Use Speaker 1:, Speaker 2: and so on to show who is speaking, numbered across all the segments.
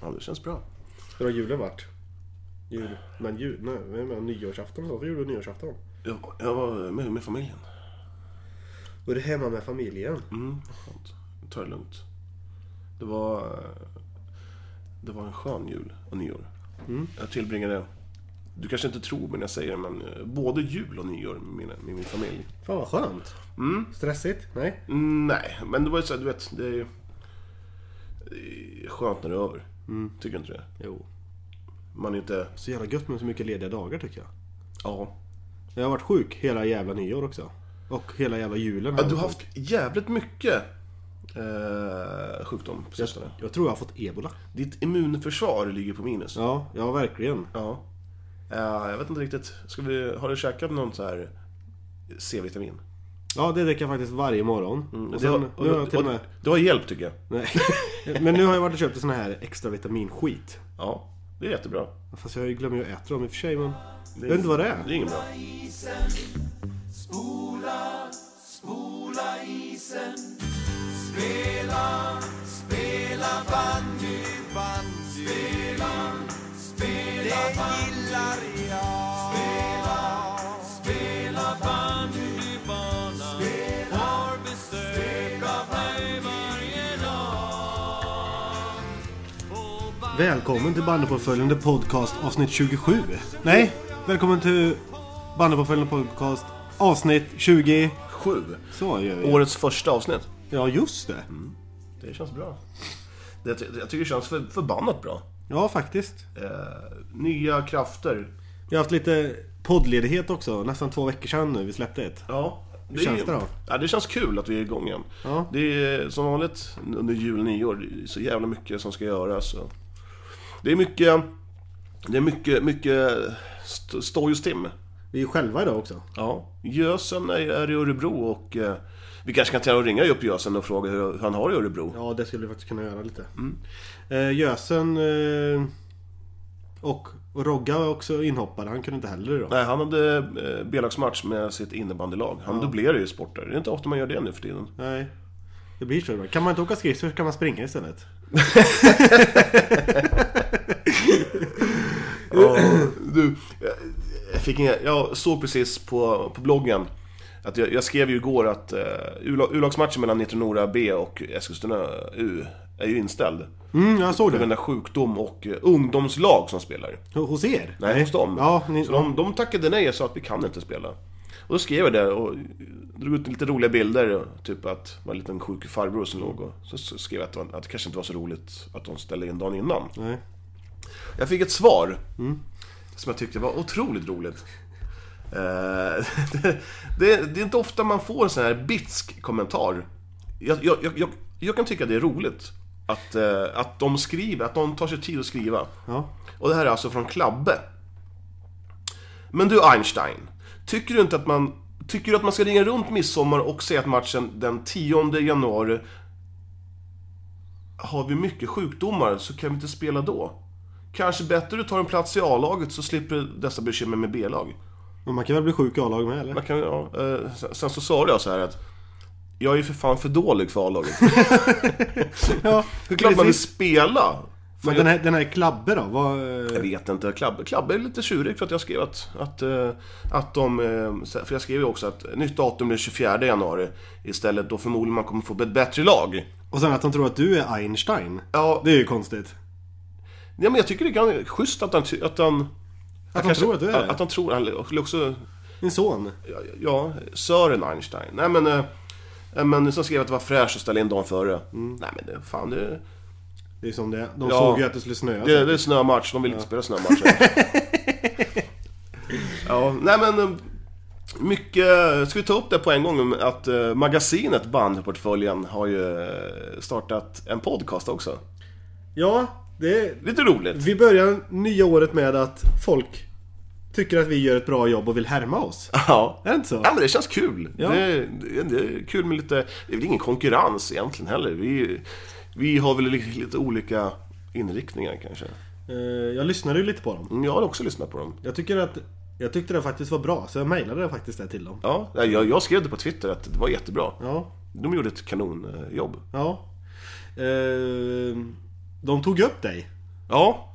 Speaker 1: Ja, det känns bra.
Speaker 2: Hur har julen varit? Jul, men jul, nej, nej, men nyårsafton och så. Jul och nyårsafton.
Speaker 1: Jag, jag var med, med familjen.
Speaker 2: Var du hemma med familjen?
Speaker 1: Mm, skönt. Ta det lugnt. Det var, eh, det var en skön jul och nyår. Jag tillbringade, du kanske inte tror men jag säger det, men eh, både jul och nyår med min, med min familj.
Speaker 2: Fan vad skönt.
Speaker 1: Mm.
Speaker 2: Stressigt? Nej?
Speaker 1: Mm, Nej, men det var ju så här, du vet, det är ju det är skönt när det är över. Tycker du inte det?
Speaker 2: Jo.
Speaker 1: Man är inte,
Speaker 2: Så jävla gött med så mycket lediga dagar tycker jag.
Speaker 1: ja.
Speaker 2: Jag har varit sjuk hela jävla nyår också. Och hela jävla julen.
Speaker 1: ja du har haft jävligt mycket eh, sjukdom på
Speaker 2: jag,
Speaker 1: sistone.
Speaker 2: jag tror jag har fått ebola.
Speaker 1: Ditt immunförsvar ligger på minus.
Speaker 2: Ja, ja verkligen.
Speaker 1: Ja. Eh, jag vet inte riktigt. Ska vi, har du käkat någon så här C-vitamin?
Speaker 2: Ja, det dricker jag faktiskt varje morgon. Mm, och
Speaker 1: Det
Speaker 2: sen,
Speaker 1: har-
Speaker 2: nu har jag till och med...
Speaker 1: det har hjälpt tycker jag.
Speaker 2: Nej. Men nu har jag varit och köpt sån här extra vitaminskit.
Speaker 1: Ja, det är jättebra.
Speaker 2: Fast jag glömmer ju att äta dem i och för sig men... Jag vet inte vad det är.
Speaker 1: Det är inget bra.
Speaker 2: Välkommen till Bandypåföljande podcast avsnitt 27. Nej, välkommen till Bandypåföljande podcast avsnitt 20.
Speaker 1: Sju.
Speaker 2: Så gör vi.
Speaker 1: Årets första avsnitt.
Speaker 2: Ja, just det.
Speaker 1: Det känns bra. Det, jag tycker det känns för, förbannat bra.
Speaker 2: Ja, faktiskt.
Speaker 1: Eh, nya krafter.
Speaker 2: Vi har haft lite poddledighet också. Nästan två veckor sedan nu vi släppte ett.
Speaker 1: Ja. Hur
Speaker 2: känns det då?
Speaker 1: Ja, det känns kul att vi är igång igen.
Speaker 2: Ja.
Speaker 1: Det är som vanligt under jul och nyår, det är så jävla mycket som ska göras. och Det är mycket, det är mycket, mycket st- stoj och stim.
Speaker 2: Vi är själva idag också.
Speaker 1: Ja, Gösen är, är i Örebro och eh, vi kanske kan ta och ringa upp Gösen och fråga hur, hur han har det i Örebro.
Speaker 2: Ja, det skulle vi faktiskt kunna göra lite. Eh, Gösen eh, och, och Rogga var också inhoppare. Han kunde inte heller idag.
Speaker 1: Nej, han hade eh, B-lagsmatch med sitt innebandylag. Han dubblerar ju sporter. Det är inte ofta man gör det nu för tiden.
Speaker 2: Nej. Det blir så ibland. Kan man inte åka skridskor så kan man springa istället.
Speaker 1: Ja, du, jag- jag, fick inga, jag såg precis på, på bloggen att jag, jag skrev ju igår att eh, U-la- U-lagsmatchen mellan Nitro Nora B och Eskilstuna U är ju inställd.
Speaker 2: Mm, jag såg
Speaker 1: På
Speaker 2: det.
Speaker 1: grund av sjukdom och eh, ungdomslag som spelar.
Speaker 2: Hos er?
Speaker 1: Nej, hos dem.
Speaker 2: Ja, ni,
Speaker 1: Så de, de tackade nej och sa att vi kan inte spela. Och då skrev jag det och drog ut lite roliga bilder, typ att det var en liten sjuk farbror som låg och så så skrev jag att det, var, att det kanske inte var så roligt att de ställde in dagen innan. Mm.
Speaker 2: nej.
Speaker 1: Jag fick ett svar som jag tyckte var otroligt roligt. Eh, det, det, det är inte ofta man får en sån här bitsk kommentar. Jag, jag, jag, jag, jag kan tycka det är roligt att, eh, att de skriver, att de tar sig tid att skriva.
Speaker 2: Ja.
Speaker 1: Och det här är alltså från Klabbe. Men du Einstein, tycker du inte att man, tycker du att man ska ringa runt midsommar och säga att matchen den 10 januari har vi mycket sjukdomar så kan vi inte spela då? Kanske bättre du tar en plats i A-laget så slipper du dessa bekymmer med B-lag.
Speaker 2: Men man kan väl bli sjuk i A-lag med eller?
Speaker 1: Man kan, ja, eh, sen- sen så svarade jag så här att jag är ju för fan för dålig för A-laget.
Speaker 2: Ja,
Speaker 1: Det är klart man vill
Speaker 2: precis.
Speaker 1: spela.
Speaker 2: Men den här, den här Klabbe då? Vad, eh,
Speaker 1: Jag vet inte, Klabbe, Klabbe är lite tjurig för att jag skrev att, att, eh, att de... eh, För jag skrev ju också att nytt datum blir 24 januari istället då förmodligen man kommer få ett bättre lag.
Speaker 2: och sen att de tror att du är Einstein.
Speaker 1: Ja,
Speaker 2: Det är ju konstigt.
Speaker 1: ja men jag tycker det är ganska schysst att han... ty- Att han,
Speaker 2: Att de tror att du är
Speaker 1: Att
Speaker 2: det.
Speaker 1: han tror, han- och också...
Speaker 2: Din son.
Speaker 1: Ja, ja, Sören Einstein. Nej men... eh, eh, Men så skrev jag att det var fräscht att ställa in dagen före. Mm, Nej men det, fan det...
Speaker 2: Det är som det är. De
Speaker 1: Ja.
Speaker 2: såg ju att det skulle snöa.
Speaker 1: Det, det är snömatch, de vill inte spela snömatch. ja, nej men... eh, Mycket... Ska vi ta upp det på en gång? Att eh, magasinet Bandportföljen har ju eh, startat en podcast också.
Speaker 2: Ja, det...
Speaker 1: Lite roligt.
Speaker 2: Vi börjar nya året med att folk tycker att vi gör ett bra jobb och vill härma oss.
Speaker 1: Ja.
Speaker 2: Är det inte så?
Speaker 1: Ja men det känns kul.
Speaker 2: Ja.
Speaker 1: Det, är- det, är- det är kul med lite... Det är väl ingen konkurrens egentligen heller. Vi, vi har väl li- lite olika inriktningar kanske.
Speaker 2: Eh, Jag lyssnade ju lite på dem.
Speaker 1: Mm, Jag har också lyssnat på dem.
Speaker 2: Jag tycker att... Jag tyckte det faktiskt var bra, så jag mejlade faktiskt det till dem.
Speaker 1: Ja, jag, jag skrev det på Twitter att det var jättebra.
Speaker 2: Ja,
Speaker 1: De gjorde ett kanonjobb.
Speaker 2: ja. Eh, De tog upp dig.
Speaker 1: Ja.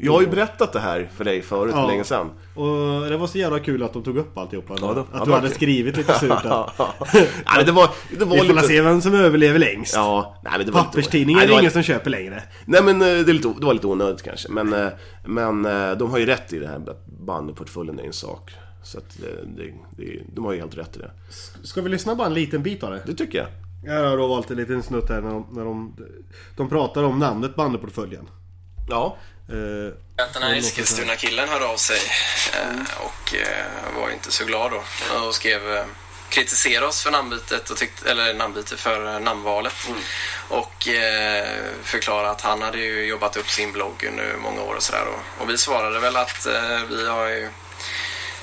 Speaker 1: Jag har ju berättat det här för dig förut, för
Speaker 2: Ja.
Speaker 1: länge sedan.
Speaker 2: Och det var så jävla kul att de tog upp alltihopa.
Speaker 1: Ja, de- ja,
Speaker 2: att du hade
Speaker 1: verkligen.
Speaker 2: skrivit lite surt att
Speaker 1: Ja, men det var, det var
Speaker 2: vi får
Speaker 1: lite...
Speaker 2: väl se vem som överlever längst.
Speaker 1: Ja, nej, men det var lite-
Speaker 2: Papperstidningar
Speaker 1: Nej,
Speaker 2: är
Speaker 1: det
Speaker 2: det
Speaker 1: var-
Speaker 2: ingen som köper längre.
Speaker 1: Nej men eh, det, är lite, o- det var lite onödigt kanske. Men, eh, men eh, de har ju rätt i det här med att bandyportföljen är en sak. Så att eh, det, det, de har ju helt rätt i det.
Speaker 2: Ska vi lyssna bara en liten bit av det?
Speaker 1: Det tycker jag.
Speaker 2: Jag har då valt en liten snutt här när de, när de, de pratar om namnet bandyportföljen.
Speaker 1: Ja.
Speaker 2: Eh,
Speaker 3: Att den här Eskilstuna-killen hörde av sig eh, och eh, var inte så glad då. Och skrev eh, kritisera oss för namnbytet, och tyckte, eller namnbyte för eh, namnvalet. Och eh, förklara att han hade ju jobbat upp sin blogg under många år och sådär. då. Och vi svarade väl att eh, vi har ju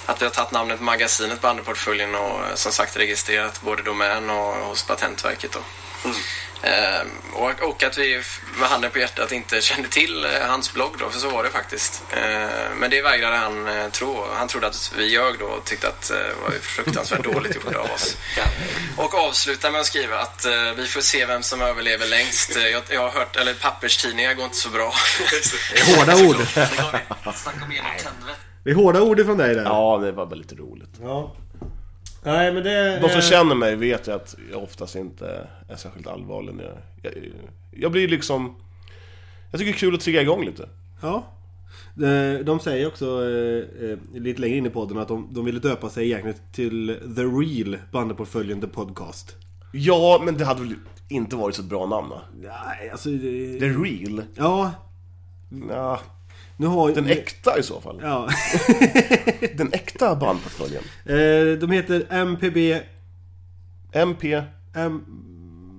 Speaker 3: att vi har tagit namnet magasinet på Andeportföljen och eh, som sagt registrerat både domän och hos Patentverket. Då. Ehm, och, och att vi f- med handen på hjärtat inte kände till eh, hans blogg då, för så var det faktiskt. Ehm, men det vägrade han eh, tro. Han trodde att vi ljög då och tyckte att eh, det var fruktansvärt dåligt gjort av oss. Och avslutar med att skriva att eh, vi får se vem som överlever längst. Eh, Jag, jag har hört, eller papperstidningar går inte så bra.
Speaker 2: hårda ord.
Speaker 3: Snacka om enigt helvete.
Speaker 2: Det är hårda ord ifrån dig där.
Speaker 1: Ja, det var bara lite roligt.
Speaker 2: Ja. Nej men det...
Speaker 1: De som
Speaker 2: eh,
Speaker 1: känner mig vet ju att jag oftast inte är särskilt allvarlig när jag... Jag, jag blir liksom... Jag tycker det är kul att trigga igång lite.
Speaker 2: Ja. Eh, De säger också eh, eh, lite längre in i podden att de, de ville döpa sig egentligen till The Real bandyportföljen The Podcast.
Speaker 1: Ja, men det hade väl inte varit så ett bra namn va?
Speaker 2: Nej, alltså... det-
Speaker 1: The Real?
Speaker 2: Ja,
Speaker 1: Ja,
Speaker 2: nu har ju...
Speaker 1: den äkta i så fall.
Speaker 2: Ja.
Speaker 1: Den äkta bandportföljen.
Speaker 2: Eh, De heter MPB
Speaker 1: MP,
Speaker 2: M-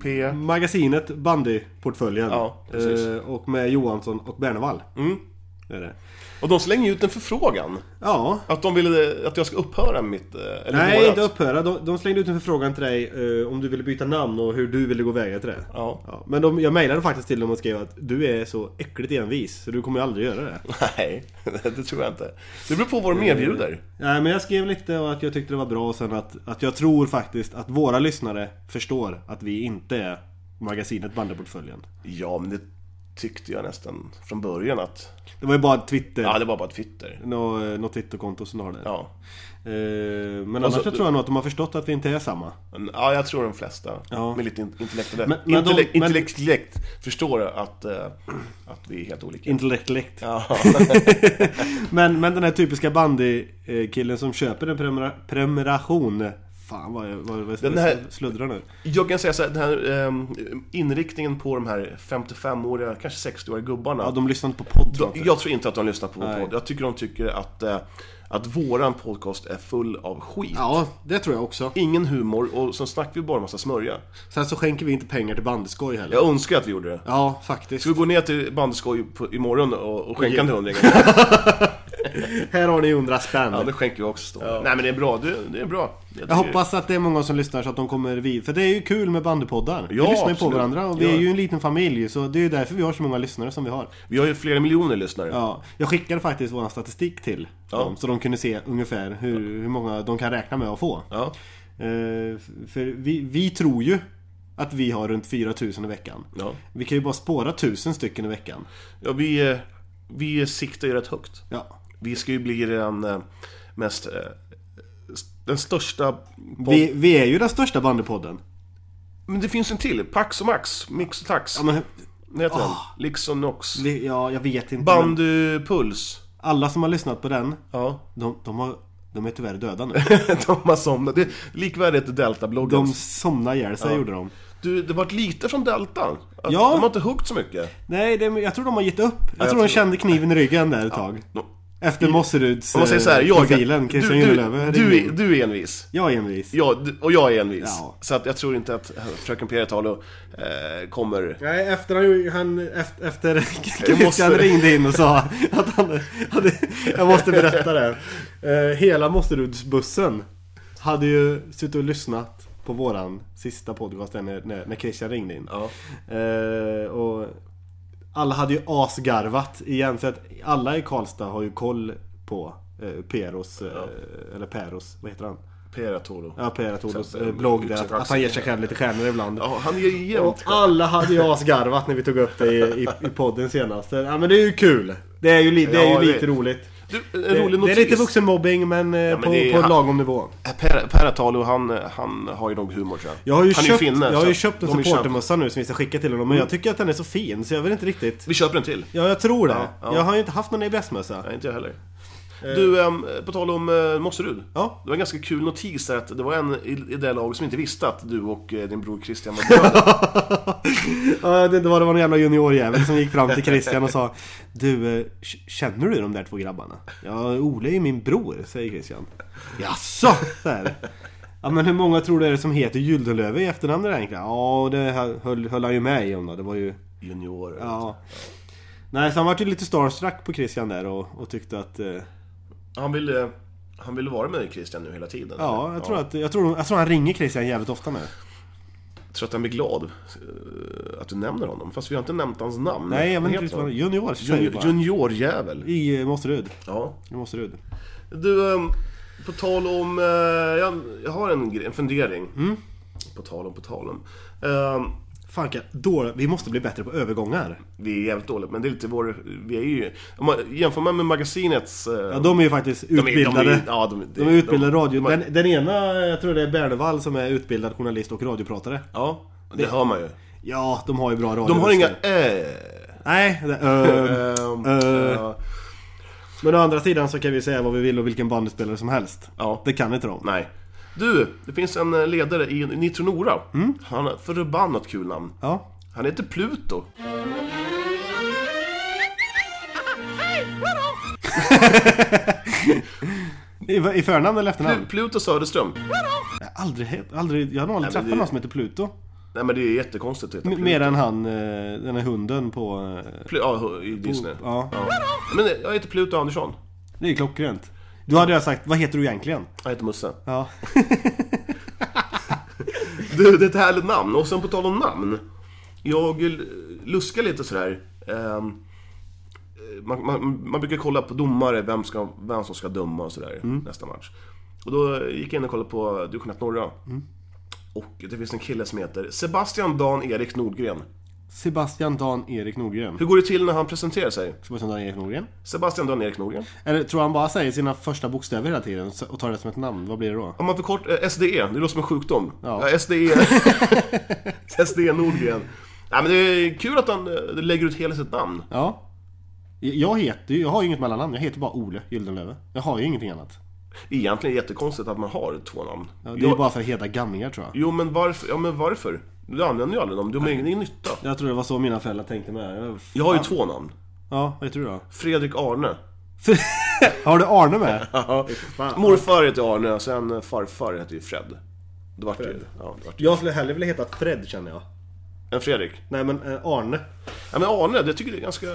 Speaker 1: P...
Speaker 2: Magasinet Bandyportföljen.
Speaker 1: Ja, precis.
Speaker 2: Eh, Och med Johansson och Bernevall.
Speaker 1: Mm.
Speaker 2: Det är det.
Speaker 1: Och de slänger ut en förfrågan.
Speaker 2: Ja.
Speaker 1: Att de ville att jag ska upphöra med mitt... eh, Eller
Speaker 2: Nej,
Speaker 1: vårat.
Speaker 2: inte upphöra. De, de slängde ut en förfrågan till dig eh, om du ville byta namn och hur du ville gå väga till det.
Speaker 1: Ja.
Speaker 2: Ja, men de, jag mejlade faktiskt till dem och skrev att du är så äckligt envis så du kommer ju aldrig göra det.
Speaker 1: Nej, det tror jag inte. Det beror på vad
Speaker 2: Eh.
Speaker 1: de erbjuder.
Speaker 2: Nej men jag skrev lite och att jag tyckte det var bra och sen att, att jag tror faktiskt att våra lyssnare förstår att vi inte är magasinet Bandyportföljen.
Speaker 1: Ja, men det tyckte jag nästan från början att...
Speaker 2: Det var ju bara Twitter.
Speaker 1: Ja,
Speaker 2: Ja,
Speaker 1: det var bara ett twitter.
Speaker 2: Något Twitterkonto som har det.
Speaker 1: Ja.
Speaker 2: Eh, men
Speaker 1: Och
Speaker 2: annars
Speaker 1: så-
Speaker 2: så tror jag nog att de har förstått att vi inte är samma.
Speaker 1: Men, ja, jag tror de flesta
Speaker 2: Ja.
Speaker 1: med lite in- intellektuella...
Speaker 2: Men- men de-
Speaker 1: intellekt,
Speaker 2: men-
Speaker 1: intellekt förstår att, eh, att vi är helt olika.
Speaker 2: Intellektuellt.
Speaker 1: ja.
Speaker 2: Men, men den här typiska bandykillen som köper en prenumera- prenumeration. Fan vad jag, vad jag
Speaker 1: Den här-
Speaker 2: sluddrar nu.
Speaker 1: Jag kan säga så här, den här ehm, inriktningen på de här 55-åriga, kanske 60-åriga gubbarna.
Speaker 2: Ja, de lyssnar inte på podd tror
Speaker 1: De,
Speaker 2: jag inte.
Speaker 1: jag tror inte att de lyssnar på vår
Speaker 2: Nej.
Speaker 1: podd. Jag tycker de tycker att, eh, att våran podcast är full av skit.
Speaker 2: Ja, det tror jag också.
Speaker 1: Ingen humor och sen snackar vi bara en massa smörja.
Speaker 2: Sen så skänker vi inte pengar till bandyskoj heller.
Speaker 1: Jag önskar att vi gjorde det.
Speaker 2: Ja, faktiskt.
Speaker 1: Ska vi gå ner till Bandeskoj på- imorgon och, och skänka en hundring?
Speaker 2: Här har ni 100 spänn.
Speaker 1: Ja, det skänker vi också. Då. Nej men det är bra, det, det är bra.
Speaker 2: jag hoppas att det är många som lyssnar så att de kommer vid. För det är ju kul med bandypoddar. vi
Speaker 1: Ja,
Speaker 2: lyssnar ju på
Speaker 1: absolut.
Speaker 2: varandra och vi är
Speaker 1: Ja.
Speaker 2: ju en liten familj. Så det är ju därför vi har så många lyssnare som vi har.
Speaker 1: Vi har ju flera miljoner lyssnare.
Speaker 2: Ja, jag skickade faktiskt vår statistik till
Speaker 1: Ja.
Speaker 2: dem så de kunde se ungefär hur, hur många de kan räkna med att få.
Speaker 1: Ja.
Speaker 2: Eh, för vi, vi tror ju att vi har runt 4000 i veckan.
Speaker 1: Ja.
Speaker 2: Vi kan ju bara spåra 1000 stycken i veckan.
Speaker 1: Ja, vi, eh, vi siktar ju rätt högt.
Speaker 2: Ja.
Speaker 1: Vi ska ju bli den eh, mest... eh, st- Den största... pod-
Speaker 2: Vi, vi är ju den största bandypodden.
Speaker 1: Men det finns en till. Pax och Max. Mix och Tax.
Speaker 2: Ja, men, Ah.
Speaker 1: Vad heter den? Lix och Nox.
Speaker 2: vi- ja, jag vet inte. men
Speaker 1: Bandypuls.
Speaker 2: alla som har lyssnat på den,
Speaker 1: Ja.
Speaker 2: de, de, har, de är tyvärr döda nu.
Speaker 1: De har somnat. Det är likvärdigt till
Speaker 2: De
Speaker 1: Delta-bloggen.
Speaker 2: somnade ihjäl sig gjorde de.
Speaker 1: Du, det vart lite från Delta. Att
Speaker 2: Ja.
Speaker 1: De har inte huggt så mycket.
Speaker 2: Nej, det, jag tror de har gett upp. Jag, tror de
Speaker 1: tror-
Speaker 2: kände kniven i ryggen där ett tag.
Speaker 1: De,
Speaker 2: Efter Mosseruds
Speaker 1: om man säger så här,
Speaker 2: eh,
Speaker 1: jag
Speaker 2: profilen,
Speaker 1: du,
Speaker 2: Christian
Speaker 1: du,
Speaker 2: Gyllelöve.
Speaker 1: du, är-
Speaker 2: ringde.
Speaker 1: du är envis.
Speaker 2: Jag är envis.
Speaker 1: Ja, du- och jag är envis.
Speaker 2: Ja.
Speaker 1: Så att jag tror inte att fröken Peretalo eh, kommer...
Speaker 2: Nej, efter han, han efter, efter
Speaker 1: Jag måste-
Speaker 2: Christian ringde in och sa att han hade, jag måste berätta det. Eh, Hela Mosserudsbussen hade ju suttit och lyssnat på våran sista podcast där när, när, när Christian ringde in.
Speaker 1: Ja.
Speaker 2: Eh, och alla hade ju asgarvat igen så att alla i Karlstad har ju koll på eh, Peros, eh, eller Peros, vad heter han?
Speaker 1: Pera Toro.
Speaker 2: Ja, Pera Tolos
Speaker 1: Så att,
Speaker 2: eh, blogg där. Att, att han ger sig själv lite stjärnor ibland.
Speaker 1: Ja, han ger ju
Speaker 2: Och
Speaker 1: jämt.
Speaker 2: alla hade ju asgarvat när vi tog upp det i, i, i podden senast. Ja men det är ju kul. Det är ju, li, det är ju
Speaker 1: Ja, det-
Speaker 2: lite roligt.
Speaker 1: Du, en
Speaker 2: Det,
Speaker 1: rolig
Speaker 2: det är
Speaker 1: notis.
Speaker 2: lite vuxenmobbing men, eh,
Speaker 1: men
Speaker 2: på,
Speaker 1: det är-
Speaker 2: på en
Speaker 1: han-
Speaker 2: lagom nivå.
Speaker 1: Eh, Per, per Atalo, han, eh, han har ju nog humor tror jag.
Speaker 2: Jag har ju
Speaker 1: han är
Speaker 2: köpt,
Speaker 1: finne,
Speaker 2: jag har
Speaker 1: så
Speaker 2: ju
Speaker 1: att
Speaker 2: köpt en
Speaker 1: de är köpt.
Speaker 2: supportermössa nu som vi ska skicka till honom. Men jag tycker att den är så fin så jag vet inte riktigt.
Speaker 1: Vi köper en till.
Speaker 2: Ja, jag tror det.
Speaker 1: Ja, ja.
Speaker 2: Jag har ju inte haft någon EBS-mössa.
Speaker 1: Nej, inte jag heller. Du, ehm, på tal om eh, Mosserud.
Speaker 2: Ja.
Speaker 1: Det var en ganska kul notis där att det var en i, i det laget som inte visste att du och eh, din bror Christian var bröder.
Speaker 2: Ja, jag vet inte vad det var någon jävla juniorjävel som gick fram till Christian och sa Du, eh, k- känner du de där två grabbarna? Ja, Ole är ju min bror, säger Christian. Jaså? Så här. Ja men hur många tror du är det som heter Gyldenlöve i efternamn där egentligen? Ja, det hö- höll, höll han ju med i om då. Det var ju...
Speaker 1: Juniorer.
Speaker 2: Ja. Nej, så han var ju lite starstruck på Christian där och, och tyckte att... Eh,
Speaker 1: Han ville, han ville vara med Christian nu hela tiden.
Speaker 2: ja, jag tror att... Jag tror, jag tror han ringer Christian jävligt ofta nu.
Speaker 1: Jag tror att han blir glad eh, att du nämner honom. Fast vi har inte nämnt hans namn.
Speaker 2: Nej, jag vet inte
Speaker 1: Heter
Speaker 2: riktigt
Speaker 1: han?
Speaker 2: vad han... Junior, säger vi
Speaker 1: Junior,
Speaker 2: bara.
Speaker 1: juniorjävel.
Speaker 2: I eh, Måsterud.
Speaker 1: Ja.
Speaker 2: I Måsterud.
Speaker 1: Du, ehm, på tal om... eh, Jag, jag har en, gre- en fundering. På tal om, på tal om. Ehm,
Speaker 2: Fan, kan- då, vi måste bli bättre på övergångar.
Speaker 1: Vi är jävligt dåliga, men det är lite vår... Vi är ju... Om man, jämför man med magasinets... eh,
Speaker 2: Ja, de är ju faktiskt
Speaker 1: de är- de är-
Speaker 2: utbildade. De är,
Speaker 1: ja, de,
Speaker 2: utbildade radio.
Speaker 1: de-
Speaker 2: Den, den ena, jag tror det är Bernevall som är utbildad journalist och radiopratare.
Speaker 1: ja, det, hör man ju.
Speaker 2: Ja, de har ju bra radio.
Speaker 1: De har inga...
Speaker 2: röster.
Speaker 1: Äh,
Speaker 2: Nej, det, ehm,
Speaker 1: ehm,
Speaker 2: eh.
Speaker 1: ja.
Speaker 2: men å andra sidan så kan vi säga vad vi vill och vilken bandspelare som helst.
Speaker 1: Ja.
Speaker 2: Det kan inte de.
Speaker 1: nej. Du, det finns en eh, ledare i Nitronora. Han har ett förbannat kul namn.
Speaker 2: Ja.
Speaker 1: Han heter Pluto.
Speaker 2: I, I förnamn eller
Speaker 1: Pl-
Speaker 2: efternamn?
Speaker 1: Pluto Söderström.
Speaker 2: Jag, har aldrig, het- aldrig, jag har nog
Speaker 1: Nej, men
Speaker 2: aldrig träffat
Speaker 1: det-
Speaker 2: någon som heter Pluto.
Speaker 1: Nej men det är jättekonstigt att heta
Speaker 2: M-
Speaker 1: Pluto.
Speaker 2: mer än han, eh, den här hunden på... eh,
Speaker 1: Pl- ja, i Disney.
Speaker 2: Ja.
Speaker 1: Men eh, jag heter Pluto Andersson.
Speaker 2: Det är ju klockrent. Då hade jag sagt, vad heter du egentligen?
Speaker 1: Jag heter Musse.
Speaker 2: Ja.
Speaker 1: Du, det är ett härligt namn. Och sen på tal om namn. Jag l- luskar lite sådär. Ehm, eh, man, man, man brukar kolla på domare, vem, ska, vem som ska döma och sådär nästa match. Och då gick jag in och kollade på Division 1 Norra. Och det finns en kille som heter Sebastian Dan Erik Nordgren.
Speaker 2: Sebastian Dan Erik Norgren.
Speaker 1: Hur går det till när han presenterar sig?
Speaker 2: Sebastian Dan Erik Norgren.
Speaker 1: Sebastian Dan Erik Nordgren.
Speaker 2: Eller tror han bara säger sina första bokstäver hela tiden och tar det som ett namn? Vad blir det då?
Speaker 1: Om man förkortar eh, SDE, det låter som en sjukdom.
Speaker 2: Ja.
Speaker 1: Ja. E. SDE, SDE E Nordgren. Nej, men det är kul att han eh, lägger ut hela sitt namn.
Speaker 2: Ja. Jag heter ju, jag har ju inget mellannamn. Jag heter bara Ole Gyldenlöve. Jag har ju ingenting annat.
Speaker 1: Egentligen jättekonstigt att man har två namn.
Speaker 2: Ja, Det är
Speaker 1: jo,
Speaker 2: bara för att heta gamlingar tror jag.
Speaker 1: jo, men varför? Ja, men varför? Du använder ju aldrig dem, du har ingen ingen nytta.
Speaker 2: Jag tror det var så mina föräldrar tänkte med. Jag,
Speaker 1: Jag har ju två namn.
Speaker 2: ja, vad heter du då?
Speaker 1: Fredrik Arne.
Speaker 2: har du Arne med?
Speaker 1: Morfar heter Arne och sen eh, farfar heter ju Fred. Det vart ju... Ja, det vart.
Speaker 2: Jag skulle hellre vilja heta Fred känner jag.
Speaker 1: En Fredrik.
Speaker 2: Nej men eh, Arne.
Speaker 1: Ja, men Arne, det tycker jag är ganska...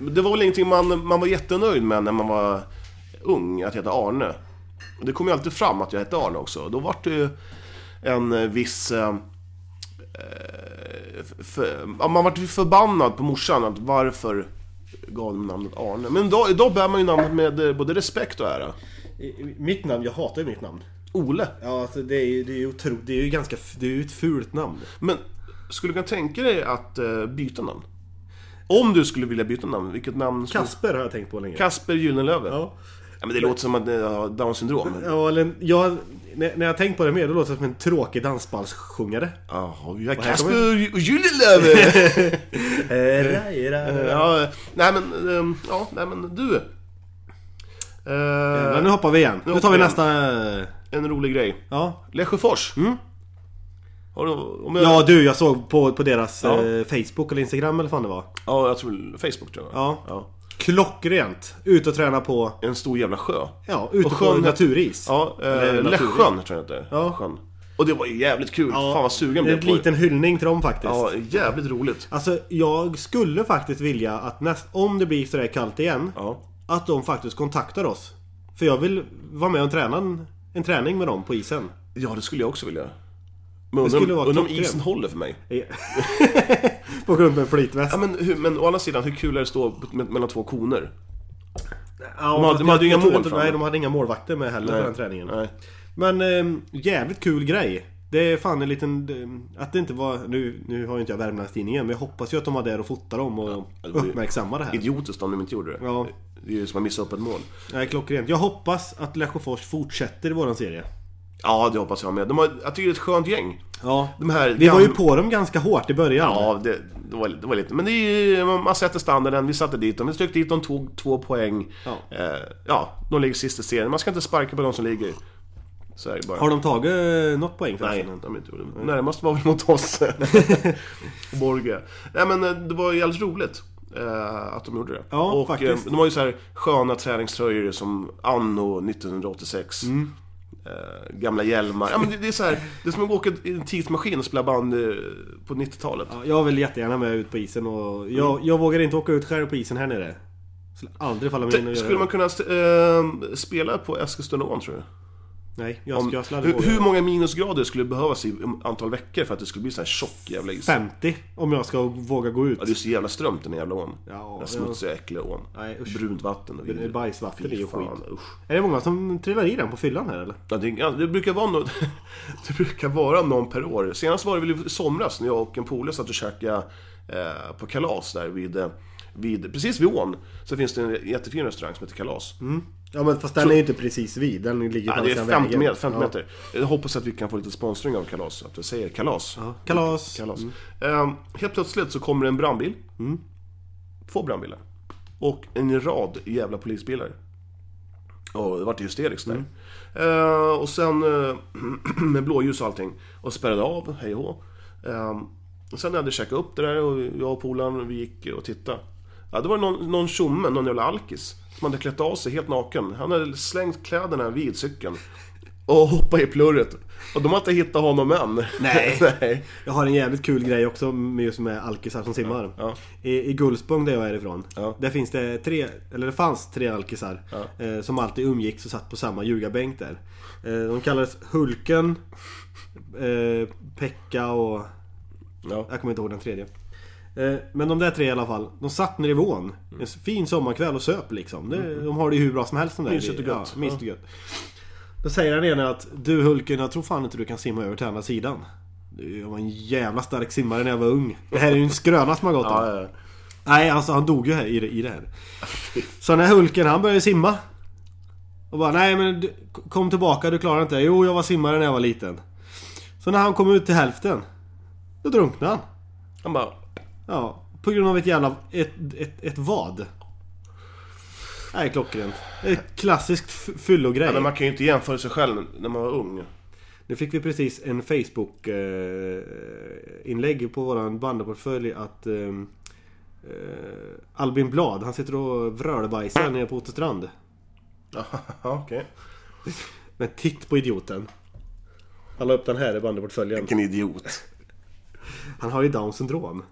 Speaker 1: Det var väl ingenting man, man var jättenöjd med när man var ung, att heta Arne. Och Det kom ju alltid fram att jag hette Arne också. Då var det ju en eh, viss... Eh, eh, för, ja, man vart ju förbannad på morsan, att varför gav de namnet Arne? Men idag, idag bär man ju namnet med eh, både respekt och ära.
Speaker 2: I- i- Mitt namn, jag hatar ju mitt namn.
Speaker 1: Ole.
Speaker 2: Ja, alltså, det är ju, det är ju otro, det är ju ganska, f- det är ju ett fult namn.
Speaker 1: Men skulle du kunna tänka dig att eh, byta namn? Om du skulle vilja byta namn, vilket namn? skulle-
Speaker 2: Kasper har jag tänkt på länge.
Speaker 1: Kasper Gyllenlöve.
Speaker 2: ja.
Speaker 1: Ja, men det låter som att ni har down syndrom.
Speaker 2: Ja, eller jag, när när jag tänkt på det mer, då låter det som en tråkig dansbandssjungare.
Speaker 1: Jaha, vi har
Speaker 2: här kommer-
Speaker 1: Kasper och Gyllenlöv!
Speaker 2: Ja,
Speaker 1: ja, nej men, ehm, ja, nej men du. Eh,
Speaker 2: men nu hoppar vi igen. Nu tar vi
Speaker 1: hoppar vi
Speaker 2: nästa... eh,
Speaker 1: en rolig grej.
Speaker 2: Ja.
Speaker 1: Lesjöfors. Har du, om jag, ja.
Speaker 2: Mm. ja, du jag såg på, på deras
Speaker 1: Ja.
Speaker 2: eh, Facebook eller Instagram eller vad fan det var.
Speaker 1: jag tror Facebook tror jag.
Speaker 2: Ja. Klockrent! Ut och träna på...
Speaker 1: En stor jävla sjö.
Speaker 2: Ja, ute
Speaker 1: Och
Speaker 2: på
Speaker 1: sjön-
Speaker 2: naturis.
Speaker 1: Ja,
Speaker 2: Eller
Speaker 1: eh, Lesjön tror jag inte.
Speaker 2: Ja.
Speaker 1: Sjön. Och det var ju jävligt kul. Fan vad sugen
Speaker 2: En
Speaker 1: jag blev på det.
Speaker 2: liten hyllning till dem faktiskt.
Speaker 1: Ja, jävligt roligt.
Speaker 2: Alltså, jag skulle faktiskt vilja att näst, om det blir sådär kallt igen,
Speaker 1: Ja.
Speaker 2: att de faktiskt kontaktar oss. För jag vill vara med och träna en, en träning med dem på isen.
Speaker 1: ja, det skulle jag också vilja. Men undrar
Speaker 2: skulle
Speaker 1: om-
Speaker 2: vara
Speaker 1: undrar om
Speaker 2: klockrent.
Speaker 1: isen håller för mig.
Speaker 2: på grund med en flytväst.
Speaker 1: Ja, men, hur, men å andra sidan, hur kul är det att stå me- mellan två koner?
Speaker 2: Ja,
Speaker 1: hade-
Speaker 2: fast
Speaker 1: de hade
Speaker 2: jag-
Speaker 1: ju inga
Speaker 2: jag tror
Speaker 1: mål
Speaker 2: inte-
Speaker 1: framme.
Speaker 2: Nej, de hade inga målvakter med heller på den träningen.
Speaker 1: Nej.
Speaker 2: Men eh, jävligt kul grej. Det är fan en liten... eh, Att det inte var... Nu, nu har ju inte jag Värmlandstidningen, men jag hoppas ju att de var där och fotade dem och
Speaker 1: det var ju-
Speaker 2: uppmärksammar det här.
Speaker 1: Idiotiskt om de inte gjorde det.
Speaker 2: Ja.
Speaker 1: Det är ju som att missa upp ett mål.
Speaker 2: Nej, klockrent. Jag hoppas att Lesjöfors fortsätter i våran serie.
Speaker 1: Ja, det hoppas jag med. De har, jag tycker det är ett skönt gäng.
Speaker 2: Ja.
Speaker 1: De här
Speaker 2: Vi var ju
Speaker 1: gam-
Speaker 2: på dem ganska hårt i början.
Speaker 1: Ja, det, det, var, det var lite... Men det är ju, man sätter standarden, vi satte dit dem, vi tryckte dit dem, tog två poäng.
Speaker 2: Ja.
Speaker 1: Eh, ja, de ligger sist i serien. Man ska inte sparka på de som ligger. Så är det bara.
Speaker 2: Har de tagit eh, något poäng
Speaker 1: Nej,
Speaker 2: förresten?
Speaker 1: de har inte gjort det. Närmast var väl mot oss. Och Borge. Nej men eh, det var ju jävligt roligt. eh, Att de gjorde det.
Speaker 2: Ja,
Speaker 1: och
Speaker 2: faktiskt.
Speaker 1: eh, de har ju så här sköna träningströjor som anno 1986.
Speaker 2: Mm.
Speaker 1: Eh, gamla hjälmar. Ja, men det, det är så här, det är som att åka i en tidsmaskin och spela band eh, på 90-talet.
Speaker 2: Ja, jag vill jättegärna med ut på isen och... Jag,
Speaker 1: Mm.
Speaker 2: jag vågar inte åka ut själv på isen här nere. Skulle aldrig falla mig in och
Speaker 1: Det-
Speaker 2: göra
Speaker 1: Skulle
Speaker 2: det.
Speaker 1: man kunna eh, spela på Eskilstunaån tror du?
Speaker 2: Nej, jag,
Speaker 1: Om-
Speaker 2: om... jag skulle aldrig
Speaker 1: hur,
Speaker 2: våga.
Speaker 1: hur många minusgrader skulle behövas i antal veckor för att det skulle bli så här tjock jävla is?
Speaker 2: 50 om jag ska våga gå ut.
Speaker 1: Ja, Alltså, det är så jävla strömt den jävla ån.
Speaker 2: Ja,
Speaker 1: den här smutsiga, äckliga ån.
Speaker 2: Nej, usch.
Speaker 1: Brunt vatten och
Speaker 2: Det är
Speaker 1: vidrigt.
Speaker 2: bajsvatten
Speaker 1: Fy
Speaker 2: i och
Speaker 1: fan,
Speaker 2: skit.
Speaker 1: usch.
Speaker 2: Är det många som trillar i den på fyllan här eller?
Speaker 1: Ja, det, ja, det, brukar vara någon, det brukar vara någon per år. Senast var det väl i somras när jag och en polare satt och käkade eh, på kalas där vid, eh, vid... Precis vid ån så finns det en jättefin restaurang som heter Kalas.
Speaker 2: Mm, Ja men fast den är ju inte precis vid. Den ligger
Speaker 1: Ja,
Speaker 2: på
Speaker 1: det
Speaker 2: andra
Speaker 1: är
Speaker 2: sidan
Speaker 1: 50
Speaker 2: vägen.
Speaker 1: meter. 50
Speaker 2: Ja.
Speaker 1: meter. Jag hoppas att vi kan få lite sponsring av Kalas. Att vi säger Kalas.
Speaker 2: Ja. Kalas.
Speaker 1: kalas. Eh, helt plötsligt så kommer en brandbil. Två brandbilar. Och en rad jävla polisbilar. Och det vart hysteriskt där. Eh, och sen eh, med blåljus och allting. Och spärrade av, hej och hå. eh, och Sen när jag hade käkat upp det där och jag och polaren vi gick och tittade. Ja, det var det någon någon tjomme, någon jävla alkis. Som hade klätt av sig helt naken. Han hade slängt kläderna vid cykeln. Och hoppat i plurret. Och de har inte hittat honom än.
Speaker 2: Nej.
Speaker 1: Nej.
Speaker 2: Jag har en jävligt kul grej också med just med alkisar som simmar.
Speaker 1: Ja.
Speaker 2: I, I Gullspång där jag är ifrån.
Speaker 1: Ja.
Speaker 2: Där finns det tre, eller det fanns tre alkisar. Eh, som alltid umgicks och satt på samma ljugarbänk där. Eh, de kallades Hulken, eh, Pekka och...
Speaker 1: Ja.
Speaker 2: Jag kommer inte ihåg den tredje. Eh, men de där tre i alla fall. De satt nere vid ån.
Speaker 1: Mm.
Speaker 2: En fin sommarkväll och söp liksom. Det, De har det ju hur bra som helst de där.
Speaker 1: Mysigt och gött.
Speaker 2: Ja, mysigt och gött. Då säger den ena att du Hulken, jag tror fan inte du kan simma över till andra sidan. Du, Jag var en jävla stark simmare när jag var ung. Det här är ju en skröna som har gått om.
Speaker 1: Ja, ja.
Speaker 2: Nej, alltså han dog ju här, i, det, i det här. Så den här Hulken, han började simma. Och bara, nej men du, kom tillbaka, du klarar inte det. Jo, jag var simmare när jag var liten. Så när han kom ut till hälften, då drunknade han.
Speaker 1: Han bara...
Speaker 2: Ja, på grund av ett jävla... Ett, ett, ett vad? Nej, klockrent. Ett klassiskt f- fyllogrej.
Speaker 1: Men man kan ju inte jämföra sig själv när man var ung.
Speaker 2: Nu fick vi precis en Facebook eh, inlägg på våran bandyportfölj att eh, eh, Albin Blad, han sitter och vrölbajsar nere på Otterstrand.
Speaker 1: Ja, okej.
Speaker 2: Men titt på idioten. Han la upp den här i bandyportföljen.
Speaker 1: Vilken idiot.
Speaker 2: Han har ju down syndrom.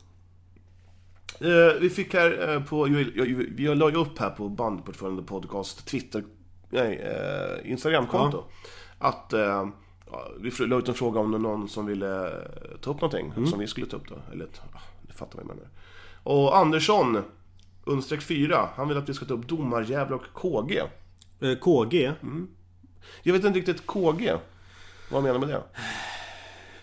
Speaker 1: Eh, vi fick här eh, på... Jag, jag, jag la ju upp här på bandportföljen podcast, Twitter... Nej, eh, Instagramkonto. Att... Eh, ja, vi fr- la ut en fråga om någon som ville eh, ta upp någonting. Som vi skulle ta upp då. Eller... ah, Ni fattar vad jag menar. Och Andersson, understreck 4, han vill att vi ska ta upp Domarjävla och KG.
Speaker 2: Eh, KG.
Speaker 1: Jag vet inte riktigt KG. Vad menar du med det?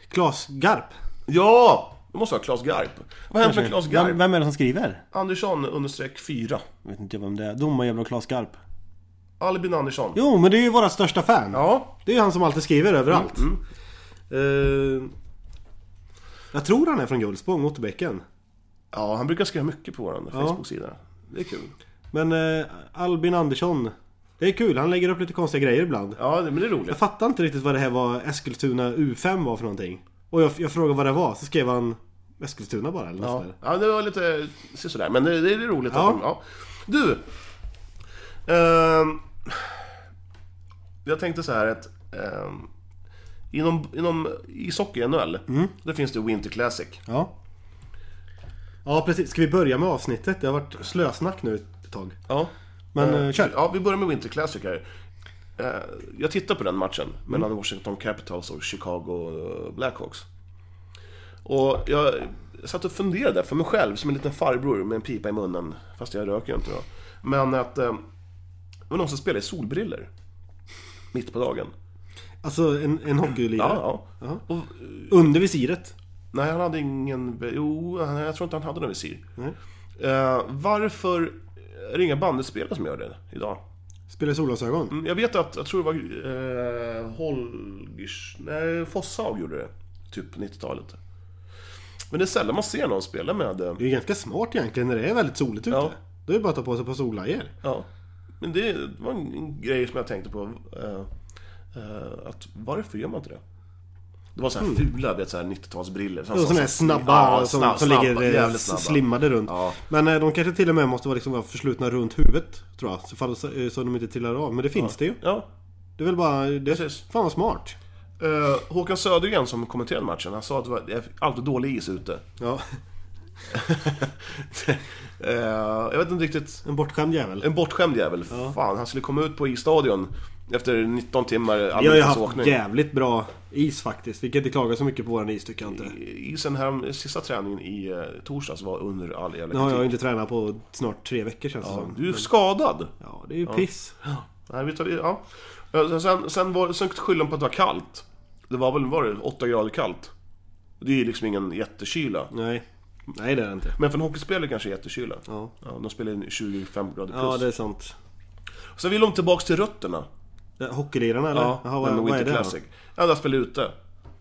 Speaker 2: Klas Garp.
Speaker 1: Ja! Det måste vara Klas Garp. Vad har hänt med Klas Garp?
Speaker 2: är det som skriver?
Speaker 1: Andersson understreck 4.
Speaker 2: Jag vet inte vem det är. Domarjävel och Klas Garp.
Speaker 1: Albin Andersson.
Speaker 2: Jo, men det är ju våra största fan.
Speaker 1: Ja. Mm.
Speaker 2: Det är ju han som alltid skriver överallt. Eh, jag tror han är från Gullspång, Otterbäcken.
Speaker 1: Ja, han brukar skriva mycket på vår Facebook-sida. Det är kul.
Speaker 2: Men eh, Albin Andersson. Det är kul, han lägger upp lite konstiga grejer ibland.
Speaker 1: Ja, det- men det är
Speaker 2: Jag
Speaker 1: roligt.
Speaker 2: fattar inte riktigt vad det här var Eskilstuna U5 var för någonting. Och jag, jag frågade vad det var, så skrev han Eskilstuna bara eller
Speaker 1: Ja,
Speaker 2: något ja.
Speaker 1: ja det var lite se sådär, men det, det är roligt.
Speaker 2: Ja.
Speaker 1: Att de, ja. Du! Ehm, jag tänkte så här att ehm, inom, inom ishockey, NHL, där finns det Winter Classic.
Speaker 2: ja. Ja precis, ska vi börja med avsnittet? Det har varit slösnack nu ett tag.
Speaker 1: Ja.
Speaker 2: Men,
Speaker 1: Eh,
Speaker 2: eh, kör.
Speaker 1: Ja, vi börjar med Winter Classic här. Eh, jag tittade på den matchen mellan
Speaker 2: Mm.
Speaker 1: Washington Capitals och Chicago eh, Blackhawks. Och jag satt och funderade för mig själv som en liten farbror med en pipa i munnen. Fast jag röker ju inte då. Men att... Eh, det var någon som spelade i solbriller Mitt på dagen.
Speaker 2: Alltså en, en hockeylirare?
Speaker 1: Ja, ja. Och,
Speaker 2: Under visiret?
Speaker 1: nej, han hade ingen... Jo, han- jag tror inte han hade någon visir.
Speaker 2: Nej.
Speaker 1: Eh, varför är det inga bandespelare som gör det idag?
Speaker 2: Spelar i solglasögon?
Speaker 1: Mm, Jag vet att, jag tror det var eh, Holgers, nej Fosshaug gjorde det. Typ 90-talet. Men det är sällan man ser någon spela med... Eh,
Speaker 2: Det är ju ganska smart egentligen när det är väldigt soligt ute.
Speaker 1: Ja.
Speaker 2: Då är det bara att ta på sig ett par solglajjor.
Speaker 1: ja. Men det var en, en grej som jag tänkte på. Eh, eh, att varför gör man inte det? Det var så här
Speaker 2: Mm.
Speaker 1: fula, vet, så här 90-talsbriller.
Speaker 2: Och sådana här snabba
Speaker 1: Ja,
Speaker 2: som,
Speaker 1: snabb-
Speaker 2: som
Speaker 1: snabba,
Speaker 2: ligger eh,
Speaker 1: jävligt snabba.
Speaker 2: slimmade runt.
Speaker 1: Ja.
Speaker 2: Men eh, de kanske till och med måste vara, liksom, vara förslutna runt huvudet. Tror jag. Så, fall, så, eh, så de inte trillar av. Men det finns det ju.
Speaker 1: Ja.
Speaker 2: Det är väl bara... Det,
Speaker 1: Precis.
Speaker 2: fan vad smart.
Speaker 1: Eh, Håkan Södergren som kommenterade matchen, han sa att det var det är alltid dålig is ute.
Speaker 2: Ja,
Speaker 1: Eh, jag vet inte riktigt
Speaker 2: en bortskämd jävel.
Speaker 1: En bortskämd jävel. Fan, han skulle komma ut på isstadion efter 19 timmar
Speaker 2: Vi har ju haft
Speaker 1: isåkning.
Speaker 2: jävligt bra is faktiskt. Vi kan inte klaga så mycket på våran is tycker jag inte.
Speaker 1: Isen här, sista träningen i eh, torsdags var under all jävla
Speaker 2: Nu har jag ju
Speaker 1: kritik.
Speaker 2: inte tränat på snart tre veckor känns det
Speaker 1: Ja,
Speaker 2: som.
Speaker 1: du är skadad.
Speaker 2: Ja, det är ju piss.
Speaker 1: Nej, vi tar, ja. Eh, Sen, sen, var, sen skyllde de på att det var kallt. Det var väl, var det, 8 grader kallt? Det är ju liksom ingen jättekyla.
Speaker 2: Nej. Nej, det är det inte.
Speaker 1: Men för en hockeyspelare kanske jättekyla.
Speaker 2: Ja.
Speaker 1: Ja, de spelar in 25 grader plus.
Speaker 2: Ja, det är sant.
Speaker 1: Sen vill de tillbaks till rötterna.
Speaker 2: Det- Hockeylirarna eller?
Speaker 1: Ja,
Speaker 2: Jaha, vad,
Speaker 1: med
Speaker 2: vad är
Speaker 1: Winter
Speaker 2: det då?
Speaker 1: Classic. Ja, där spelar ute.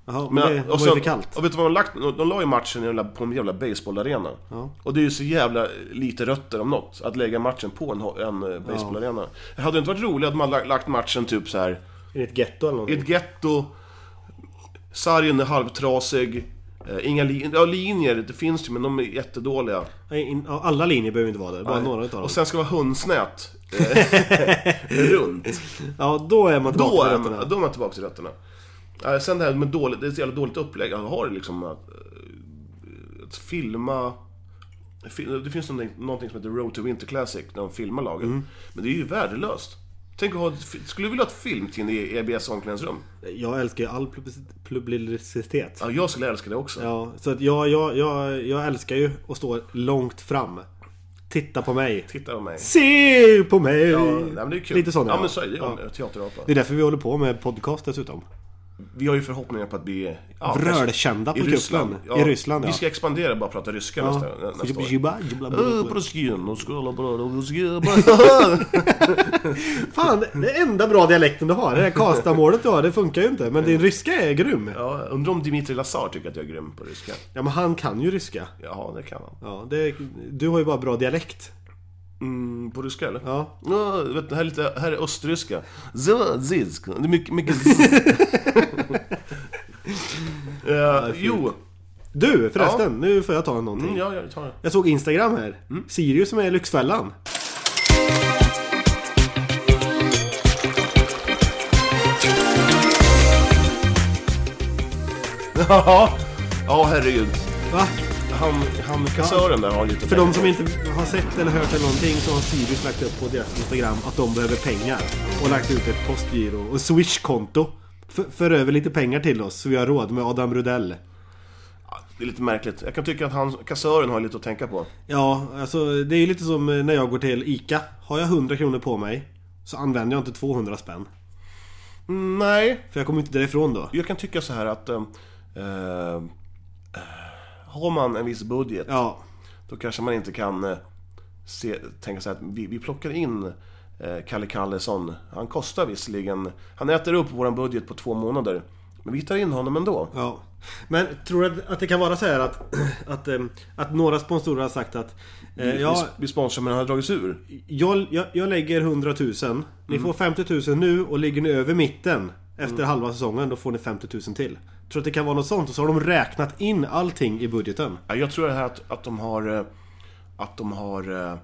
Speaker 2: Jaha, men,
Speaker 1: Men,
Speaker 2: det var
Speaker 1: och
Speaker 2: ju
Speaker 1: sen,
Speaker 2: för kallt.
Speaker 1: Och vet du vad de lagt? De, de la ju matchen i en jävla- på en jävla baseballarena.
Speaker 2: Ja.
Speaker 1: Och det är ju så jävla lite rötter om något, att lägga matchen på en, ho- en eh, baseballarena. Det hade inte varit roligt att man lagt, lagt matchen typ så här
Speaker 2: I ett getto eller
Speaker 1: i
Speaker 2: någonting?
Speaker 1: ett getto, sargen är halvtrasig, eh, inga lin- ja, linjer, det finns ju men de är jättedåliga.
Speaker 2: Nej, in- ja, alla linjer behöver inte vara där, bara några utav dem.
Speaker 1: Och sen ska det vara hundsnät eh, runt.
Speaker 2: Ja, då är man tillbaka
Speaker 1: Då
Speaker 2: till
Speaker 1: är,
Speaker 2: rötterna.
Speaker 1: man, då är man tillbaka till rötterna. Eh, Sen det här med dåligt, det är ett jävla dåligt upplägg. Jag har liksom att, eh, att filma... fi- Det finns någonting, någonting som heter Road to Winter Classic, när de filmar laget. Men det är ju värdelöst. Tänk att ha ett, fi- skulle du vilja ha ett filmteam i E EBS omklädningsrum?
Speaker 2: Jag älskar ju all public- publicitet.
Speaker 1: Ja, jag skulle älska det också.
Speaker 2: Ja, så att jag, jag, jag, jag älskar ju att stå långt fram. Titta på mig.
Speaker 1: Titta på mig.
Speaker 2: Se på mig!
Speaker 1: Ja, nej, men det är kul.
Speaker 2: Lite sån
Speaker 1: ja,
Speaker 2: ja.
Speaker 1: men så är det. Jag är en teaterapa.
Speaker 2: Det är därför vi håller på med podcast dessutom.
Speaker 1: Vi har ju förhoppningar på att bli... Ja,
Speaker 2: Rölkända på
Speaker 1: I Ryssland.
Speaker 2: kuppen. I Ryssland ja.
Speaker 1: Vi ska expandera och bara prata ryska nästa, nästa år.
Speaker 2: Jibba, jibba, jibba.
Speaker 1: Eh, Proskin, och skåla bröd och ruskig-
Speaker 2: Fan, det enda bra dialekten du har, det där Karlstadmålet du har, det funkar ju inte. Men din ryska är grym.
Speaker 1: Ja, undrar om Dimitri Lazar tycker att jag är grym på ryska.
Speaker 2: Ja, men han kan ju ryska.
Speaker 1: Jaha, det kan han.
Speaker 2: Ja, det, du har ju bara bra dialekt.
Speaker 1: Mm, på ryska eller?
Speaker 2: Ja.
Speaker 1: Ja, vet, du, här, är lite, här är östryska. Zva, zizk. Det är mycket, mycket z. Eh, Jo,
Speaker 2: Du förresten, nu får jag ta någonting.
Speaker 1: mm, ja, jag tar det.
Speaker 2: Jag såg Instagram här. Sirius som är i Lyxfällan.
Speaker 1: Ja, ja herregud.
Speaker 2: Va?
Speaker 1: Han, han kassören där har lite
Speaker 2: För de som inte har sett eller hört eller någonting så har Sirius lagt upp på deras Instagram att de behöver pengar. Och lagt ut ett postgiro och swishkonto. F- för över lite pengar till oss så vi har råd med Adam Rudell.
Speaker 1: Det är lite märkligt. Jag kan tycka att han, kassören har lite att tänka på.
Speaker 2: Ja, alltså det är ju lite som när jag går till ICA. Har jag 100 kronor på mig så använder jag inte 200 spänn.
Speaker 1: Mm, Nej,
Speaker 2: För jag kommer inte därifrån då.
Speaker 1: jag kan tycka så här att... eh, eh, har man en viss budget
Speaker 2: Ja,
Speaker 1: Då kanske man inte kan eh, se, tänka sig att vi, vi plockar in eh, Kalle Kallesson. Han kostar visserligen, han äter upp vår budget på två månader. Men vi tar in honom ändå.
Speaker 2: Ja. Men tror du att- att det kan vara så här att, att, eh, att några sponsorer har sagt att eh,
Speaker 1: Vi-
Speaker 2: jag,
Speaker 1: Vi, vi sponsrar men han har dragits ur.
Speaker 2: jag, jag, jag lägger 100 000, ni får 50 000 nu och ligger ni över mitten efter halva säsongen då får ni 50 000 till. Tror du att det kan vara något sånt? Och så har de räknat in allting i budgeten.
Speaker 1: Ja, Jag tror det här att, att de har, eh, att de har eh,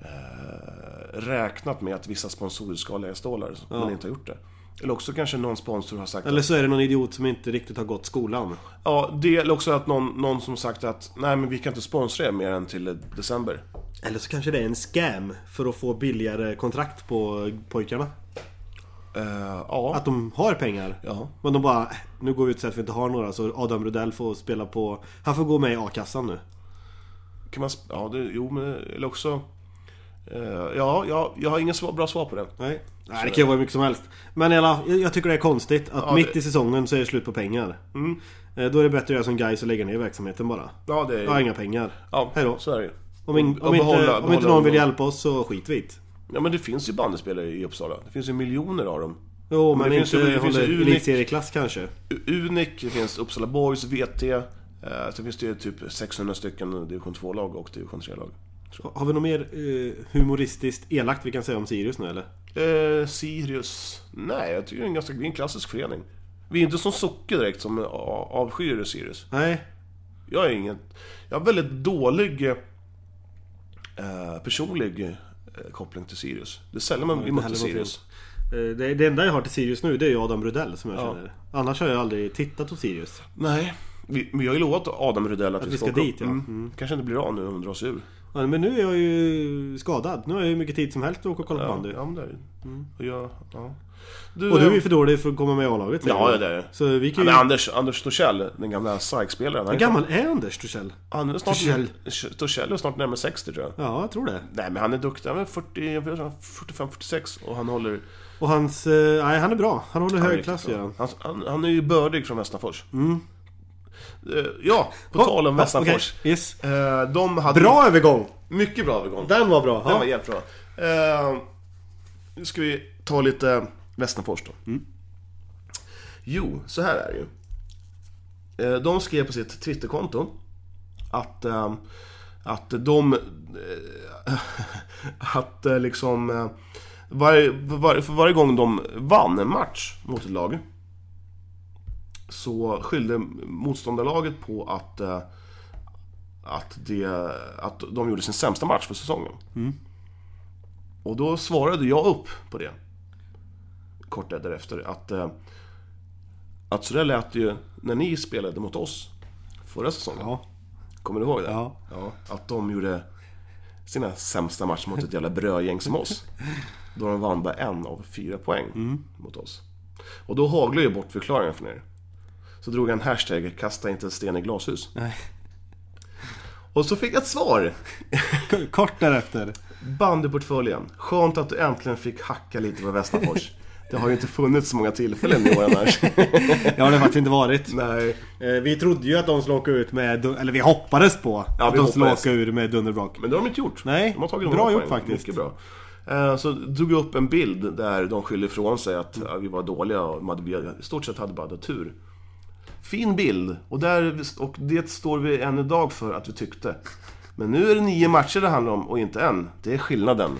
Speaker 1: eh, räknat med att vissa sponsorer ska lägga stålar, men inte har gjort det. Eller också kanske någon sponsor har sagt
Speaker 2: Eller så är det någon idiot som inte riktigt har gått skolan.
Speaker 1: Ja, det eller också att någon, någon som sagt att nej men vi kan inte sponsra er mer än till eh, december.
Speaker 2: Eller så kanske det är en scam för att få billigare kontrakt på pojkarna.
Speaker 1: Eh, ja.
Speaker 2: Att de har pengar.
Speaker 1: Ja.
Speaker 2: Men de bara, "Äh, nu går vi ut så att vi inte har några så Adam Rudell får spela på... Han får gå med i a-kassan nu.
Speaker 1: Kan man... sp- Ja, det, jo, men... Eller också... Eh, ja, jag, jag har ingen svar, bra svar på den.
Speaker 2: Nej. Nej, det kan ju vara hur mycket som helst. Men i alla, jag- jag tycker det är konstigt att
Speaker 1: Ja,
Speaker 2: mitt
Speaker 1: det-
Speaker 2: i säsongen så är det slut på pengar. Eh, Då är det bättre att göra som guys och lägga ner verksamheten bara.
Speaker 1: Ja, det är...
Speaker 2: Jag har inga pengar.
Speaker 1: Ja,
Speaker 2: Hej då.
Speaker 1: så är det ju.
Speaker 2: Om, in, om,
Speaker 1: Och
Speaker 2: inte,
Speaker 1: behålla-
Speaker 2: om inte
Speaker 1: behålla
Speaker 2: någon vill
Speaker 1: ungdom.
Speaker 2: hjälpa oss så skit vi i det.
Speaker 1: Ja, men det finns ju bandespelare i Uppsala. Det finns ju miljoner av dem.
Speaker 2: Jo,
Speaker 1: Men
Speaker 2: men
Speaker 1: det finns
Speaker 2: inte
Speaker 1: ju- det finns ju
Speaker 2: håller
Speaker 1: Unik-
Speaker 2: elitserieklass kanske.
Speaker 1: U- Unik, det finns Uppsala Boys, VT. Eh, sen finns det ju typ 600 stycken division 2-lag och division 3-lag.
Speaker 2: Ha- Har vi något mer eh, humoristiskt elakt vi kan säga om Sirius nu eller?
Speaker 1: Eh, Sirius? Nej, jag tycker det är en ganska det är en klassisk förening. Vi är inte som Socke direkt som eh, a- avskyr Sirius.
Speaker 2: Nej.
Speaker 1: Jag är ingen... Jag har väldigt dålig eh, personlig eh, koppling till Sirius. Det är sällan man blir
Speaker 2: inte
Speaker 1: mot
Speaker 2: heller
Speaker 1: Sirius.
Speaker 2: Eh, Det, det enda jag har till Sirius nu det är ju Adam Rudell som jag
Speaker 1: Ja.
Speaker 2: känner. Annars har jag aldrig tittat på Sirius.
Speaker 1: Nej. Vi, men jag har ju lovat Adam Rydell att,
Speaker 2: vi ska
Speaker 1: åka upp. Mm.
Speaker 2: dit, ja. Mm.
Speaker 1: Kanske inte blir av nu om de drar sig ur.
Speaker 2: Ja, Men nu är jag ju skadad. Nu har jag ju mycket tid som helst att åka och kolla på
Speaker 1: Ja,
Speaker 2: bandy.
Speaker 1: ja, men det är det. Mm. Och jag... Ja. Du,
Speaker 2: Mm. Och du är
Speaker 1: eh,
Speaker 2: ju för dålig för att komma med i A-laget. säger
Speaker 1: Ja,
Speaker 2: du.
Speaker 1: ja, det är jag.
Speaker 2: Så vi
Speaker 1: ja,
Speaker 2: kan ju...
Speaker 1: men Anders, Anders Torssell, den gamla SAIK-spelaren.
Speaker 2: Hur gammal är Anders Torssell?
Speaker 1: Han är snart...
Speaker 2: Torssell.
Speaker 1: Torssell är snart närmare 60 tror jag.
Speaker 2: Ja, jag tror det.
Speaker 1: Nej men han är duktig, han är 40, jag vet inte, 45, 46 och han håller...
Speaker 2: Och hans... eh, Nej, han är bra. Han håller
Speaker 1: han är
Speaker 2: hög
Speaker 1: riktigt
Speaker 2: klass
Speaker 1: bra.
Speaker 2: gör han.
Speaker 1: han, han, han är ju bördig från Västernfors. Eh, ja, på tal om
Speaker 2: Ja,
Speaker 1: Västernfors.
Speaker 2: okej. Yes.
Speaker 1: Eh, de hade...
Speaker 2: Bra övergång!
Speaker 1: Mycket bra övergång.
Speaker 2: Den var bra.
Speaker 1: Den var
Speaker 2: Ja.
Speaker 1: jävligt bra. Eh, nu ska vi ta lite Västernfors då. Mm. Jo, så här är det ju. Eh, de skrev på sitt Twitterkonto att, eh, att de... eh, att eh, liksom... eh, Varje, varje, för varje gång de vann en match mot ett lag så skyllde motståndarlaget på att, eh, att, det, att de gjorde sin sämsta match för säsongen. Och då svarade jag upp på det. Kort därefter att... Eh, att så där lät det ju när ni spelade mot oss förra säsongen.
Speaker 2: Ja.
Speaker 1: Kommer du ihåg det?
Speaker 2: Ja.
Speaker 1: Att de gjorde sina sämsta matcher mot ett jävla brödgäng som oss. Då de vann bara en av fyra poäng
Speaker 2: Mm.
Speaker 1: mot oss. Och då haglade jag bort förklaringen från er. Så drog jag en hashtag 'Kasta inte sten i glashus'
Speaker 2: Nej.
Speaker 1: Och så fick jag ett svar!
Speaker 2: K- Kort därefter.
Speaker 1: Bandyportföljen. Skönt att du äntligen fick hacka lite på Västerfors. Det har ju inte funnits så många tillfällen i år annars.
Speaker 2: Ja, det har faktiskt inte varit.
Speaker 1: Nej.
Speaker 2: Eh, Vi trodde ju att de skulle åka ut med... Eller vi hoppades på
Speaker 1: Ja,
Speaker 2: att
Speaker 1: vi
Speaker 2: de skulle
Speaker 1: hoppades.
Speaker 2: åka ur med dunderbrak.
Speaker 1: Men det har de inte gjort.
Speaker 2: Nej,
Speaker 1: de har tagit
Speaker 2: bra
Speaker 1: några
Speaker 2: gjort
Speaker 1: poäng.
Speaker 2: faktiskt.
Speaker 1: Mycket bra. Eh, Så drog jag upp en bild där de skyller ifrån sig att ja, vi var dåliga och de hade- vi i stort sett hade bara hade tur. Fin bild, och, där, och det står vi än idag för att vi tyckte. Men nu är det nio matcher det handlar om och inte en. Det är skillnaden.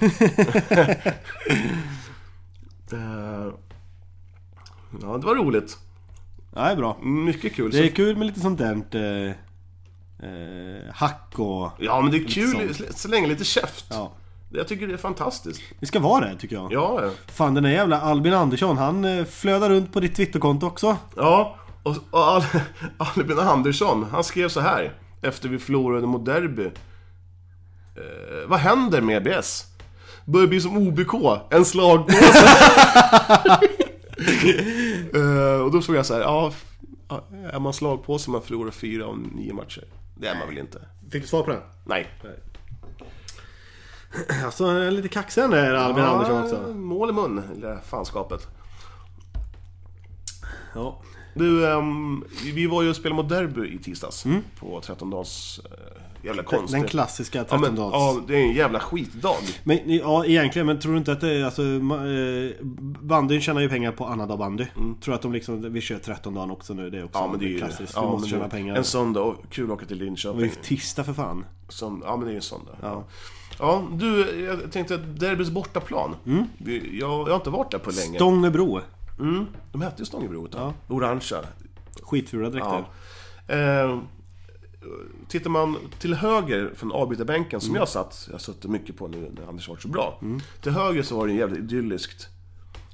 Speaker 1: Eh, ja, det var roligt.
Speaker 2: Ja, det är bra.
Speaker 1: Mycket kul.
Speaker 2: Det är kul med lite sånt där... Eh, eh, hack och...
Speaker 1: Ja, men det är kul
Speaker 2: sånt.
Speaker 1: så- så länge lite käft.
Speaker 2: Ja.
Speaker 1: Jag tycker det är fantastiskt.
Speaker 2: Det ska vara det tycker jag.
Speaker 1: Ja, ja.
Speaker 2: Fan den där jävla Albin Andersson, han eh, flödar runt på ditt Twitterkonto också.
Speaker 1: Ja, och, och Al Albin Andersson, han skrev så här efter vi förlorade mot Derby. Eh, vad händer med EBS? Börjar bli som OBK, en slagpåse. eh, och då såg jag så här, ja, f- ja, är man slagpåse om man förlorar fyra av nio matcher? Det är man väl inte?
Speaker 2: Fick du svar på den?
Speaker 1: Nej.
Speaker 2: Alltså han är lite kaxig den där Albin Andersson också.
Speaker 1: Mål i mun, eller fanskapet.
Speaker 2: Ja.
Speaker 1: Du, ehm, vi var ju och spelade mot Derby i tisdags på 13-dags... eh, jävla konstigt.
Speaker 2: Mm. Den klassiska
Speaker 1: Ja, men,
Speaker 2: 13
Speaker 1: ja, det är en jävla skitdag.
Speaker 2: Men ja, egentligen, men tror du inte att det är alltså... ma- eh, Bandyn tjänar ju pengar på annandag bandy. Tror att de liksom, vi kör 13 dagen också nu, det är också klassiskt. vi
Speaker 1: Mm. ja,
Speaker 2: måste
Speaker 1: men det-
Speaker 2: tjäna pengar.
Speaker 1: En söndag och kul att åka till
Speaker 2: Det var
Speaker 1: Linköping.
Speaker 2: ju tisdag för fan.
Speaker 1: Som, ja, men det är ju en söndag. Ja. ja, du, jag tänkte att Derbys bortaplan.
Speaker 2: Mm.
Speaker 1: Vi, jag, jag har inte varit där på länge.
Speaker 2: Stångebro.
Speaker 1: mm. De hette ju Stångebro ett tag. Orangea.
Speaker 2: Skitfula dräkter.
Speaker 1: Ja. Eh, tittar man till höger från avbytarbänken
Speaker 2: Mm.
Speaker 1: som jag satt, jag har suttit mycket på nu när Anders varit så bra. Till höger så var det jävligt idylliskt.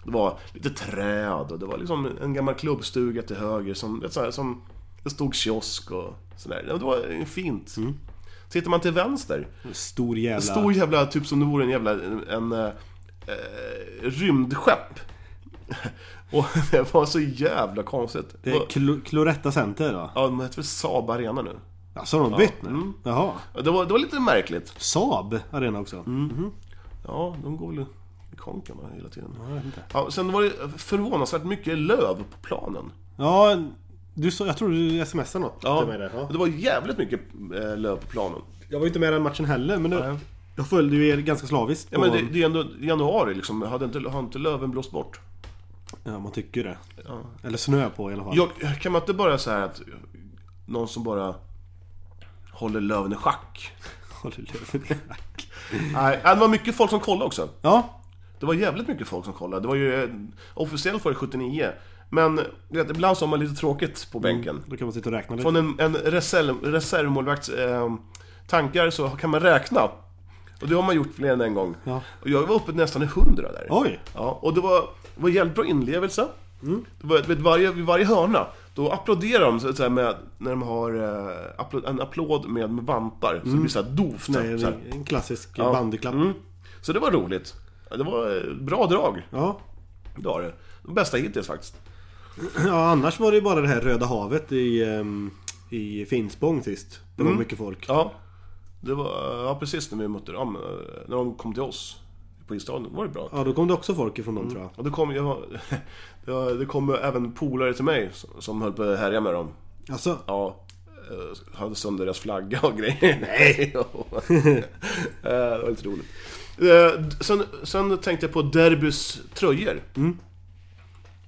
Speaker 1: Det var lite träd och det var liksom en gammal klubbstuga till höger som, vet, så här, som det stod kiosk och sådär. Ja, Det var fint.
Speaker 2: Mm.
Speaker 1: Tittar man till vänster,
Speaker 2: Stor jävla...
Speaker 1: stor jävla, typ som det vore en jävla, en, en eh, rymdskepp. och det var så jävla konstigt.
Speaker 2: Det är Klo- Cloretta Center då?
Speaker 1: Ja, de heter väl Saab Arena nu?
Speaker 2: Alltså har de bytt nu? Jaha.
Speaker 1: Ja, Det var, det var lite märkligt. Mm.
Speaker 2: Saab Arena också?
Speaker 1: Ja, de går väl i konken va, hela tiden.
Speaker 2: Ja, jag vet inte.
Speaker 1: Ja, sen var det förvånansvärt mycket löv på planen.
Speaker 2: Ja, du sa, jag tror du smsade något
Speaker 1: Ja,
Speaker 2: till mig där. Ja.
Speaker 1: Det var jävligt mycket eh, löv på planen.
Speaker 2: Jag var ju inte med i den matchen heller, men det,
Speaker 1: Nej.
Speaker 2: jag följde ju er ganska slaviskt.
Speaker 1: Ja,
Speaker 2: på-
Speaker 1: men det, det är ändå januari liksom. Hade inte, har inte löven blåst bort?
Speaker 2: ja, man tycker det. Eller snö på i alla fall.
Speaker 1: Jag, kan man inte bara säga att någon som bara håller löven i schack?
Speaker 2: Håller löven i hack.
Speaker 1: Nej, det var mycket folk som kollade också.
Speaker 2: Ja,
Speaker 1: Det var jävligt mycket folk som kollade. Det var ju eh, officiellt var det 79. Men du vet, ibland så har man lite tråkigt på bänken.
Speaker 2: då kan man sitta och räkna lite.
Speaker 1: Från en, en reserv, reservmålvakts eh, tankar så kan man räkna. Och det har man gjort fler än en gång.
Speaker 2: Ja.
Speaker 1: Och jag var uppe nästan i 100 där.
Speaker 2: Oj! Mm.
Speaker 1: Ja, och det var, det var jävligt bra inlevelse. Det var, vid, varje, vid varje hörna, då applåderar de så, så här med, när de har eh, applåd, en applåd med, med vantar. Så det blir så här dovt.
Speaker 2: Mm. Nej,
Speaker 1: så, här.
Speaker 2: en, en klassisk
Speaker 1: Ja.
Speaker 2: bandyklapp.
Speaker 1: Mm. så det var roligt. Ja, Det var eh, bra drag.
Speaker 2: Ja.
Speaker 1: Det var det. De bästa hittills faktiskt.
Speaker 2: ja, annars var det ju bara det här Röda havet i, ehm, i Finspång sist. Det var mycket folk.
Speaker 1: Mm. Ja, det var, ja precis när vi mötte dem. eh, När de kom till oss på isstaden var det bra.
Speaker 2: Ja, då kom det också folk ifrån dem tror jag.
Speaker 1: Och det kom, jag, det- det kom även polare till mig som- som höll på att härja med dem.
Speaker 2: Alltså,
Speaker 1: Ja, eh, hade sönder deras flagga och grejer. Nej! det var lite roligt. Eh, Sen, sen tänkte jag på Derbys tröjor.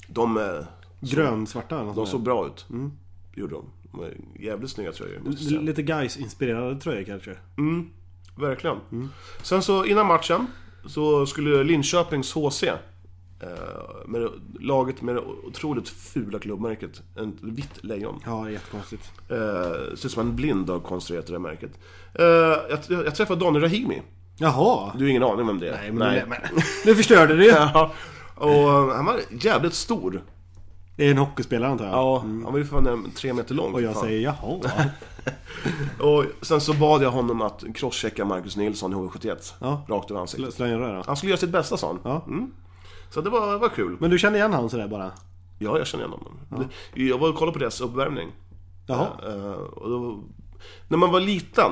Speaker 1: De, eh,
Speaker 2: grönsvarta eller något
Speaker 1: de
Speaker 2: sånt där.
Speaker 1: såg bra ut. Mm. Gjorde de. De var jävligt snygga tröjor. måste jag
Speaker 2: L-
Speaker 1: säga.
Speaker 2: Lite guys inspirerade tröjor kanske.
Speaker 1: Mm, verkligen.
Speaker 2: Mm.
Speaker 1: Sen så innan matchen så skulle Linköpings HC, eh, med det- laget med det otroligt fula klubbmärket, en vitt lejon.
Speaker 2: Ja, jättekonstigt.
Speaker 1: Eh, ser ut som en blind har konstruerat det där märket. Eh, jag, jag, jag träffade Daniel Rahimi.
Speaker 2: Jaha!
Speaker 1: Du har ingen aning vem det är?
Speaker 2: Nej, men, Nej. men nu förstörde du ju.
Speaker 1: Ja, och eh, han var jävligt stor.
Speaker 2: Det är en hockeyspelare antar jag.
Speaker 1: Ja, han var ju fan en- tre meter lång.
Speaker 2: Och jag
Speaker 1: fan.
Speaker 2: säger jaha.
Speaker 1: och sen så bad jag honom att crosschecka Marcus Nilsson i HV71.
Speaker 2: Ja.
Speaker 1: Rakt över ansiktet.
Speaker 2: Slå en röra.
Speaker 1: Han skulle göra sitt bästa sa han.
Speaker 2: Ja.
Speaker 1: Så det var, det var kul.
Speaker 2: Men du kände igen han sådär bara?
Speaker 1: Ja, jag känner igen honom. Jag var och kollade på deras uppvärmning.
Speaker 2: Jaha.
Speaker 1: Eh, och då, när man var liten,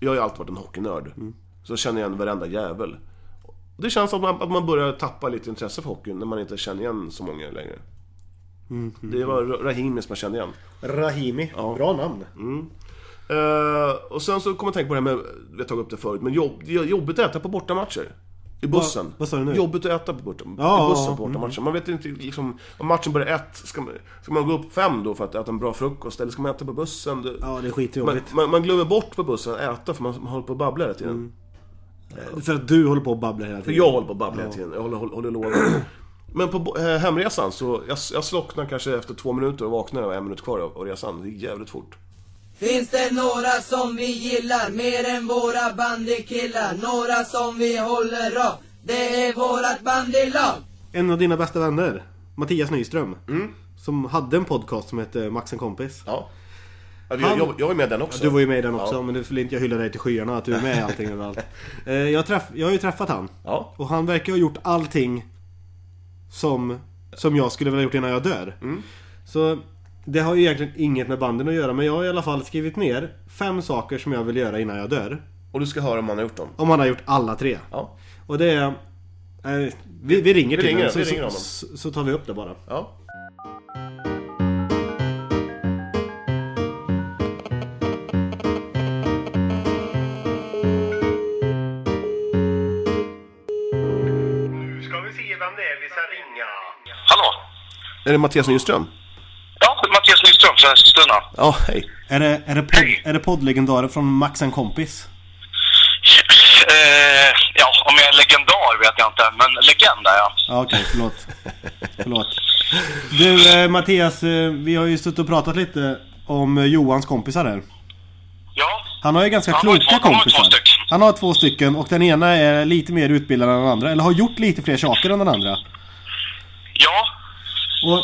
Speaker 1: jag har ju alltid varit en hockeynörd, så känner jag igen varenda jävel. Och Det känns som att man, att man börjar tappa lite intresse för hockeyn när man inte känner igen så många längre. Det var Ra- Rahimi som jag kände igen.
Speaker 2: Rahimi. Bra namn.
Speaker 1: Eh, och sen så kom jag att tänka på det här med, vi har tagit upp det förut, men jobb, det är jobbigt att äta på bortamatcher. I bussen.
Speaker 2: Vad- vad sa du nu?
Speaker 1: Jobbigt att äta på borta,
Speaker 2: Ja, mm.
Speaker 1: i bussen på
Speaker 2: ja,
Speaker 1: bortamatcher. Man vet inte liksom, om matchen börjar ett, ska man, ska man gå upp fem då för att äta en bra frukost? Eller ska man äta på bussen? Det,
Speaker 2: Ja, det är
Speaker 1: man,
Speaker 2: skitjobbigt.
Speaker 1: man, man glömmer bort på bussen att äta för man håller på och babblar hela tiden.
Speaker 2: Mm. För att du håller på och babblar hela
Speaker 1: För
Speaker 2: tiden.
Speaker 1: jag håller på och babblar hela tiden, jag håller, håller, håller låda. Men på bo- eh, hemresan så, jag, jag slocknar kanske efter två minuter och vaknar och en minut kvar av av resan. Det gick jävligt fort.
Speaker 4: Finns det några som vi gillar mer än våra bandykillar? Några som vi håller av? Det är vårat bandylag!
Speaker 2: En av dina bästa vänner, Mattias Nyström.
Speaker 1: Mm.
Speaker 2: Som hade en podcast som hette Max en kompis.
Speaker 1: Ja. Jag,
Speaker 2: Han-
Speaker 1: jag, jag var med i den också.
Speaker 2: Du var ju med i den också,
Speaker 1: Ja.
Speaker 2: men det vill inte jag hylla dig till skyarna att du är med i allting överallt. Eh, Jag, träff, jag har ju träffat han.
Speaker 1: Ja.
Speaker 2: Och han verkar ha gjort allting som, som jag skulle vilja ha gjort innan jag dör.
Speaker 1: Mm.
Speaker 2: Så det har ju egentligen inget med banden att göra, men jag har i alla fall skrivit ner fem saker som jag vill göra innan jag dör.
Speaker 1: Och du ska höra om han har gjort dem.
Speaker 2: Om han har gjort alla tre.
Speaker 1: Ja.
Speaker 2: Och det är... Eh, vi, vi ringer till
Speaker 1: ringer,
Speaker 2: honom, så,
Speaker 1: vi ringer honom.
Speaker 2: så, så, så tar vi upp det bara.
Speaker 1: ja.
Speaker 5: Nu ska vi se vem det är vi ska ringa.
Speaker 6: Hallå?
Speaker 1: Är det Mattias Nyström?
Speaker 6: Ja, det är Mattias Nyström från Eskilstuna.
Speaker 1: Ja, hej.
Speaker 2: Är det, är det, podd, är det poddlegendaren från Max en kompis?
Speaker 6: Eh, ja, om jag är legendar vet jag inte, men legend är jag.
Speaker 2: Ja, okej, förlåt. förlåt. Du eh, Mattias, eh, vi har ju suttit och pratat lite om eh, Johans kompisar här.
Speaker 6: Ja,
Speaker 2: Han har ju ganska
Speaker 6: Han har
Speaker 2: kloka
Speaker 6: två- han har
Speaker 2: kompisar.
Speaker 6: två stycken.
Speaker 2: Han har två stycken och den ena är lite mer utbildad än den andra. Eller har gjort lite fler saker än den andra.
Speaker 6: ja,
Speaker 2: Och,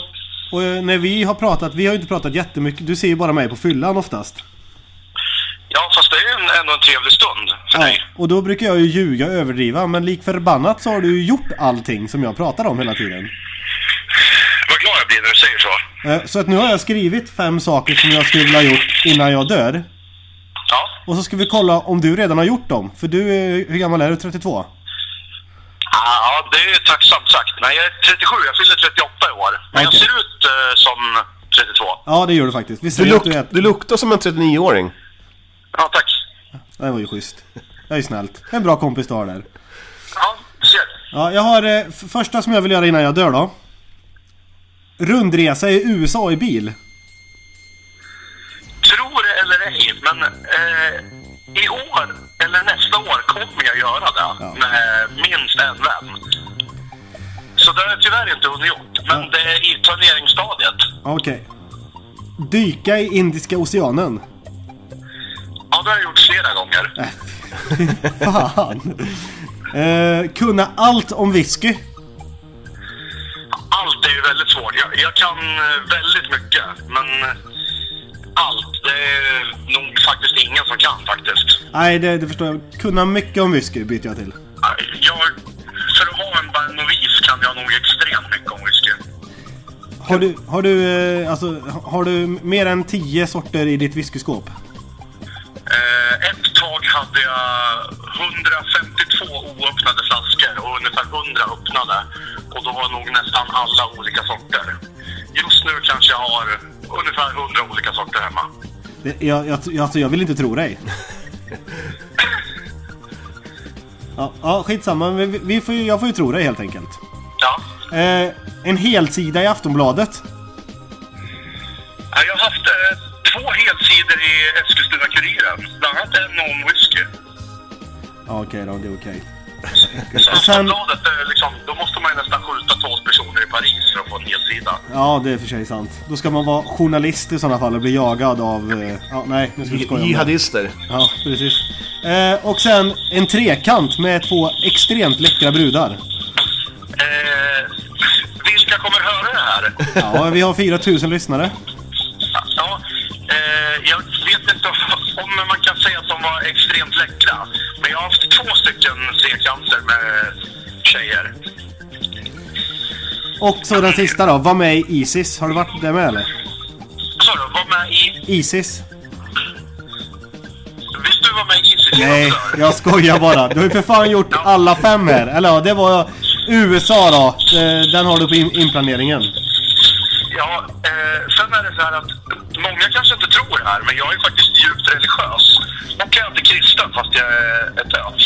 Speaker 2: och eh, när vi har pratat, vi har ju inte pratat jättemycket. Du ser ju bara mig på fyllan oftast.
Speaker 6: ja fast det är ju en, ändå en trevlig stund för
Speaker 2: Ja,
Speaker 6: dig.
Speaker 2: och då brukar jag ju ljuga och överdriva. Men lik förbannat så har du ju gjort allting som jag pratar om hela tiden.
Speaker 6: Vad glad jag blir när du säger så.
Speaker 2: Eh, Så att nu har jag skrivit fem saker som jag skulle vilja ha gjort innan jag dör.
Speaker 6: Ja,
Speaker 2: Och så ska vi kolla om du redan har gjort dem. För du är, hur gammal är du? 32?
Speaker 6: Ah, Ja, det är ju tacksamt sagt. Men jag är 37, jag fyller 38 i år. Men
Speaker 2: Okej.
Speaker 6: jag ser ut eh, som 32.
Speaker 2: Ja, det gör du faktiskt. Vi
Speaker 1: Du,
Speaker 2: säger att
Speaker 1: luk
Speaker 2: du är...
Speaker 1: du luktar som en 39-åring.
Speaker 6: Ja, tack.
Speaker 2: Det var ju schysst. Det är ju snällt. En bra kompis du har där.
Speaker 6: Ja, ser.
Speaker 2: Ja, jag har eh, f- första som jag vill göra innan jag dör då. Rundresa i USA i bil.
Speaker 6: Tror det eller ej, men eh, i år eller nästa år kommer jag göra det med min städvän. Så det har jag tyvärr inte hunnit gjort, men det är i planeringsstadiet.
Speaker 2: Okej. Dyka i Indiska oceanen.
Speaker 6: Ja, det har jag gjort flera gånger.
Speaker 2: Fan. Eh, kunna allt om whisky.
Speaker 6: Allt är ju väldigt svårt. Jag, jag kan eh, väldigt mycket, men eh, allt, det är nog faktiskt ingen som kan faktiskt.
Speaker 2: Nej, det, det förstår jag. Kunna mycket om whisky byter jag till.
Speaker 6: Jag, för att vara en bara novis kan jag nog extremt mycket om whisky.
Speaker 2: Har du, har du, eh, alltså, har du mer än tio sorter i ditt whiskyskåp?
Speaker 6: Eh, ett tag hade jag 152 oöppnade flaskor och ungefär 100 öppnade. Och då var nog nästan alla olika sorter. Just nu kanske jag har ungefär 100 olika sorter hemma.
Speaker 2: Det, jag, jag, jag- alltså, jag vill inte tro dig. Ja, ja skitsamma. Vi, vi får, ju- jag får ju tro dig helt enkelt.
Speaker 6: Ja.
Speaker 2: Eh, en helsida i Aftonbladet.
Speaker 6: Eh, Jag har haft eh, två helsidor i Eskilstuna-Kuriren. Bland annat en om whisky.
Speaker 2: Ja, okej då, det är okej.
Speaker 6: Så
Speaker 2: Sen-
Speaker 6: Aftonbladet, eh, liksom, då måste man ju nästan skjuta två personer i Paris för att få en helsida.
Speaker 2: Ja, det är för sig sant. Då ska man vara journalist i sådana fall och bli jagad av... eh, Ja, nej, nu ska vi skoja om det.
Speaker 1: Jihadister.
Speaker 2: Ja, precis. Eh, och sen en trekant med två extremt läckra brudar.
Speaker 6: Eh, vilka kommer höra det här?
Speaker 2: Ja, vi har 4000 lyssnare.
Speaker 6: Ja, eh, jag vet inte om man kan säga att de var extremt läckra. Men jag har haft två stycken trekanter med tjejer.
Speaker 2: Och så den sista då, var med i Isis. Har du varit där med eller?
Speaker 6: Så du, Alltså, var med i...
Speaker 2: Isis?
Speaker 6: Vill du vara med i Isis
Speaker 2: Nej,
Speaker 6: också?
Speaker 2: jag skojar bara. Du har ju för fan gjort alla fem här. Eller ja, det var USA då. Eh, Den har du på in- inplaneringen.
Speaker 6: Ja, eh, sen är det så här att många kanske inte tror det här, men jag är faktiskt djupt religiös. Och jag är inte kristen, fast jag är ett ös.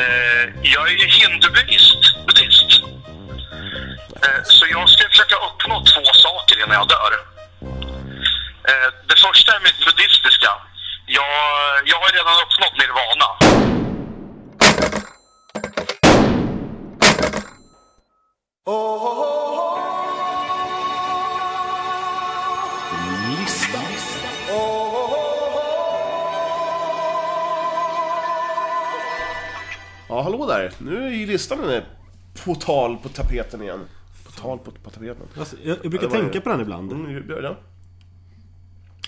Speaker 6: Eh, jag är ju hindubuddhist. buddhist. Eh, så jag ska försöka uppnå två saker innan jag dör. Eh, det första är mitt buddhistiska. Jag, jag har redan uppnått nirvana.
Speaker 1: Ja, hallå där. Nu är ju listan eh, på tal på tapeten igen. På tal på, på tapeten.
Speaker 2: Alltså, jag, jag
Speaker 1: Ja,
Speaker 2: brukar
Speaker 1: det var ju-
Speaker 2: tänka på den ibland.
Speaker 1: Mm, hur blir det?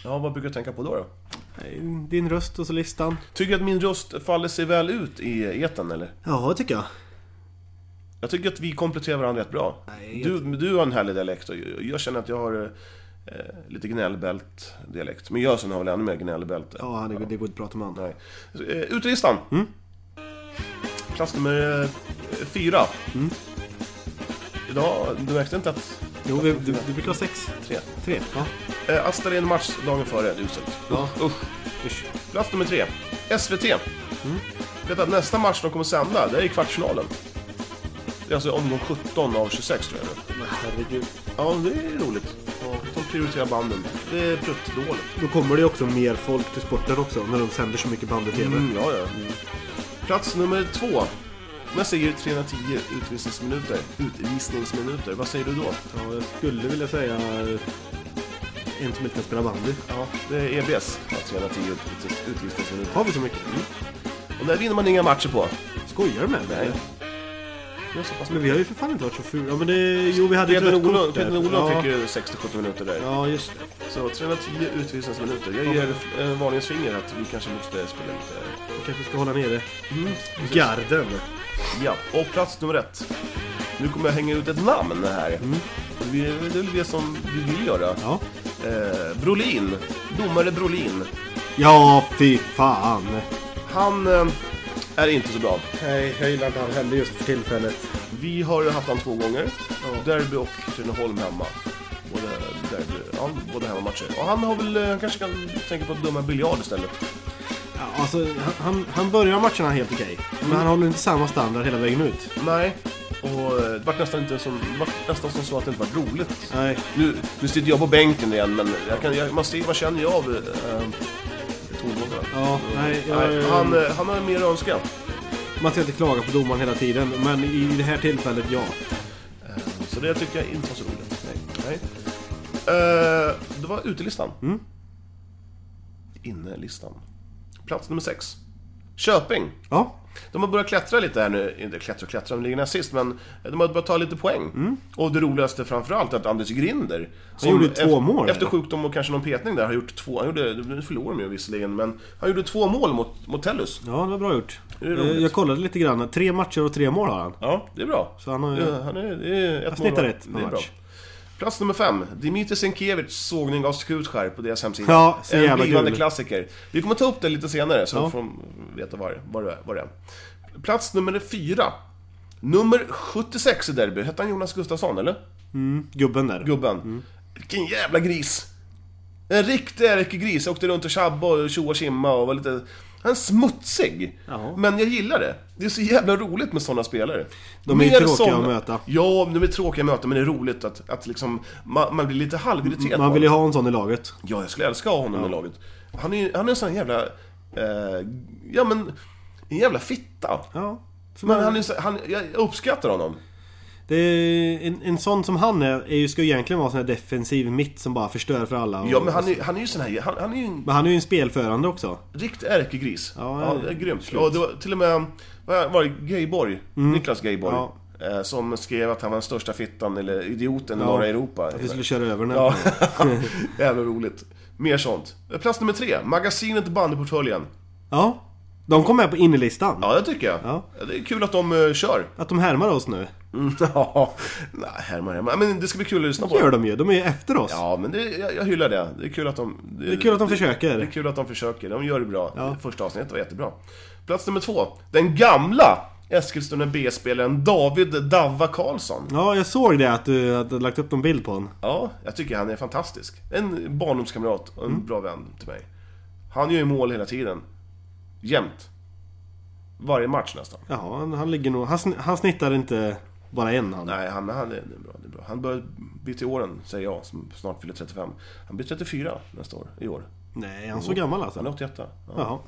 Speaker 1: Ja, vad brukar jag tänka på då? då?
Speaker 2: Eh, Din röst och så listan.
Speaker 1: Tycker du att min röst faller sig väl ut i etern eller?
Speaker 2: Ja, det tycker jag.
Speaker 1: Jag tycker att vi kompletterar varandra rätt bra.
Speaker 2: Nej, jag-
Speaker 1: du, du har en härlig dialekt och jag, jag känner att jag har eh, lite gnällbält dialekt. Men Jösen har väl ännu mer gnällbälte?
Speaker 2: Ja, det, det går inte att prata med andra.
Speaker 1: Nej. Så, eh, Ut i listan! Plats nummer eh, fyra. Mm. Idag, du märkte inte att...
Speaker 2: Jo, vi, du, du brukar ha sex.
Speaker 1: Tre.
Speaker 2: Tre. Ja.
Speaker 1: Eh, Asta Ren match dagen före, det är uselt.
Speaker 2: Ja.
Speaker 1: Usch.
Speaker 2: Usch.
Speaker 1: Plats nummer tre. SVT. Mm. Vet att nästa match de kommer sända, det är i kvartsfinalen. Det är alltså omgång 17 av 26 tror jag nu.
Speaker 2: Men herregud.
Speaker 1: Ja, det är roligt. De prioriterar banden. Det är pruttdåligt.
Speaker 2: Då kommer det ju också mer folk till sporten också när de sänder så mycket band och tv.
Speaker 1: Mm, ja, ja. Plats nummer två. Med seger i 310 utvisningsminuter. Utvisningsminuter. Vad säger du då?
Speaker 2: Ja, jag skulle vilja säga eh, en som inte kan spela bandy.
Speaker 1: Ja, det är EBS. Ja, 310 utvis- utvisningsminuter.
Speaker 2: Har vi så mycket? Mm.
Speaker 1: Och där vinner man inga matcher på.
Speaker 2: Skojar du med mig?
Speaker 1: Nej. Det är så pass
Speaker 2: Men vi har ju för fan inte varit så fula. Ja, men det... Jo, vi hade ett
Speaker 1: Peter
Speaker 2: rött
Speaker 1: Olon,
Speaker 2: kort där.
Speaker 1: Peter Olon
Speaker 2: ja.
Speaker 1: fick ju 60-70 minuter där.
Speaker 2: Ja, just det.
Speaker 1: Så 310 utvisningsminuter. Jag ger en varningens finger att vi kanske måste spela lite...
Speaker 2: Vi kanske ska hålla nere garden.
Speaker 1: Ja, och plats nummer ett. Nu kommer jag hänga ut ett namn här. Det är det är väl det som vi vill göra.
Speaker 2: Mm. Ja.
Speaker 1: Eh, Brolin, domare Brolin.
Speaker 2: Ja, fy fan.
Speaker 1: Han eh, är inte så bra.
Speaker 2: Nej, jag gillar inte han heller just för tillfället.
Speaker 1: Vi har haft han två gånger. Derby och Katrineholm hemma. Både, derby, ja, både hemmamatcher. Och han har väl, eh, han kanske kan tänka på att döma biljard istället.
Speaker 2: Ja, alltså, han, han, han börjar matcherna helt okej. Men han håller inte samma standard hela vägen ut.
Speaker 1: Nej. Och eh, det vart nästan inte som, det vart nästan som så att det inte var roligt.
Speaker 2: Nej.
Speaker 1: Nu, nu sitter jag på bänken igen, men jag kan, jag, man, ser, man känner ju av eh, tongångarna.
Speaker 2: Ja, nej, jag,
Speaker 1: Nej, han, eh, han har mer att önska.
Speaker 2: Man ska inte klaga på domaren hela tiden, men i det här tillfället, ja.
Speaker 1: Så det tycker jag inte var så roligt. Nej. Nej. Eh, det var utelistan. Mm. Innelistan. Plats nummer sex. Köping.
Speaker 2: Ja,
Speaker 1: De har börjat klättra lite här nu. Inte klättra och klättra, de ligger näst sist, men de har börjat ta lite poäng. Och det roligaste framförallt är att Anders Grinder, som
Speaker 2: Mm. gjorde två
Speaker 1: ef-
Speaker 2: mål,
Speaker 1: efter
Speaker 2: eller?
Speaker 1: sjukdom och kanske någon petning där, har gjort två, han gjorde, nu förlorade de ju visserligen, men han gjorde två mål mot, mot Tellus.
Speaker 2: ja det var bra gjort.
Speaker 1: är roligt.
Speaker 2: Eh, Jag kollade lite grann. Tre matcher och tre mål har han.
Speaker 1: Ja, det är bra.
Speaker 2: Så han har ju-
Speaker 1: Ja, han är, det är ett
Speaker 2: snittar
Speaker 1: mål-
Speaker 2: rätt
Speaker 1: det
Speaker 2: på
Speaker 1: är bra.
Speaker 2: match.
Speaker 1: Plats nummer fem. Dimitri Sienkiewicz sågning av Skutskär på deras hemsida.
Speaker 2: Ja, så
Speaker 1: en
Speaker 2: jävla
Speaker 1: blivande
Speaker 2: kul.
Speaker 1: klassiker. Vi kommer ta upp det lite senare så
Speaker 2: Ja.
Speaker 1: får de veta vad det- vad det är- vad det är. Plats nummer fyra. Nummer 76 i derby. Hette han Jonas Gustafsson, eller?
Speaker 2: Gubben där.
Speaker 1: Gubben. Vilken jävla gris! En riktig ärkegris. Åkte runt och tjabbade och tjoa och tjimma och var lite... Han är smutsig!
Speaker 2: Jaha.
Speaker 1: Men jag gillar det. Det är så jävla roligt med sådana spelare.
Speaker 2: De är
Speaker 1: Mer
Speaker 2: tråkiga
Speaker 1: såna-
Speaker 2: att möta.
Speaker 1: Ja, de är tråkiga att möta, men det är roligt att, att liksom, man, man blir lite halvirriterad
Speaker 2: Man
Speaker 1: på
Speaker 2: vill ju
Speaker 1: honom.
Speaker 2: ha en sån i laget.
Speaker 1: Ja, jag skulle älska att ha honom i laget. Han är, han är en sån jävla... Eh, ja, men... En jävla fitta.
Speaker 2: Ja. Så
Speaker 1: Men
Speaker 2: man-
Speaker 1: han är, så- han, jag uppskattar honom.
Speaker 2: det är, en, en sån som han är, är ju, ska ju egentligen vara en sån här defensiv mitt som bara förstör för alla. och-
Speaker 1: Ja, men han är, han är ju sån här... Han, han är ju en
Speaker 2: men han är ju en spelförande också.
Speaker 1: Riktig ärkegris. Ja,
Speaker 2: Ja,
Speaker 1: det är grymt.
Speaker 2: slut.
Speaker 1: Och det var till och med, vad var det, Gayborg? Niklas Gayborg.
Speaker 2: Mm. Ja.
Speaker 1: eh, Som skrev att han var den största fittan, eller idioten, i
Speaker 2: Ja,
Speaker 1: norra Europa.
Speaker 2: Att vi skulle köra över den.
Speaker 1: Ja, jävla roligt. Mer sånt. Plats nummer tre, magasinet Bandyportföljen.
Speaker 2: ja. De kom med på innerlistan.
Speaker 1: Ja, det tycker jag.
Speaker 2: Ja.
Speaker 1: Det är kul att de uh, kör.
Speaker 2: Att de härmar oss nu.
Speaker 1: Mm, ja, nej, härmar, härmar. Men det ska bli kul att lyssna på.
Speaker 2: Det gör de ju. De är ju efter oss.
Speaker 1: Ja, men det, jag, jag hyllar det. Det är kul att de... Det,
Speaker 2: är kul att de
Speaker 1: det-
Speaker 2: försöker.
Speaker 1: Det är kul att de försöker. De gör det bra.
Speaker 2: Ja.
Speaker 1: Första avsnittet var jättebra. Plats nummer två. Den gamla Eskilstuna B-spelaren David Davva Karlsson.
Speaker 2: Ja, jag såg det att du hade lagt upp någon bild på honom.
Speaker 1: Ja, jag tycker han är fantastisk. En barndomskamrat och en
Speaker 2: Mm.
Speaker 1: bra vän till mig. Han gör ju mål hela tiden. Jämt. Varje match nästan.
Speaker 2: Jaha, han, han ligger nog... Han, sn- han snittar inte bara en han.
Speaker 1: Nej, han, han är, det är bra. Det är bra. Han börjar bli till åren, säger jag, som snart fyller 35. Han blir 34 nästa år, i år.
Speaker 2: Nej, han är så gammal
Speaker 1: Han
Speaker 2: alltså.
Speaker 1: är 81. Ja.
Speaker 2: Jaha.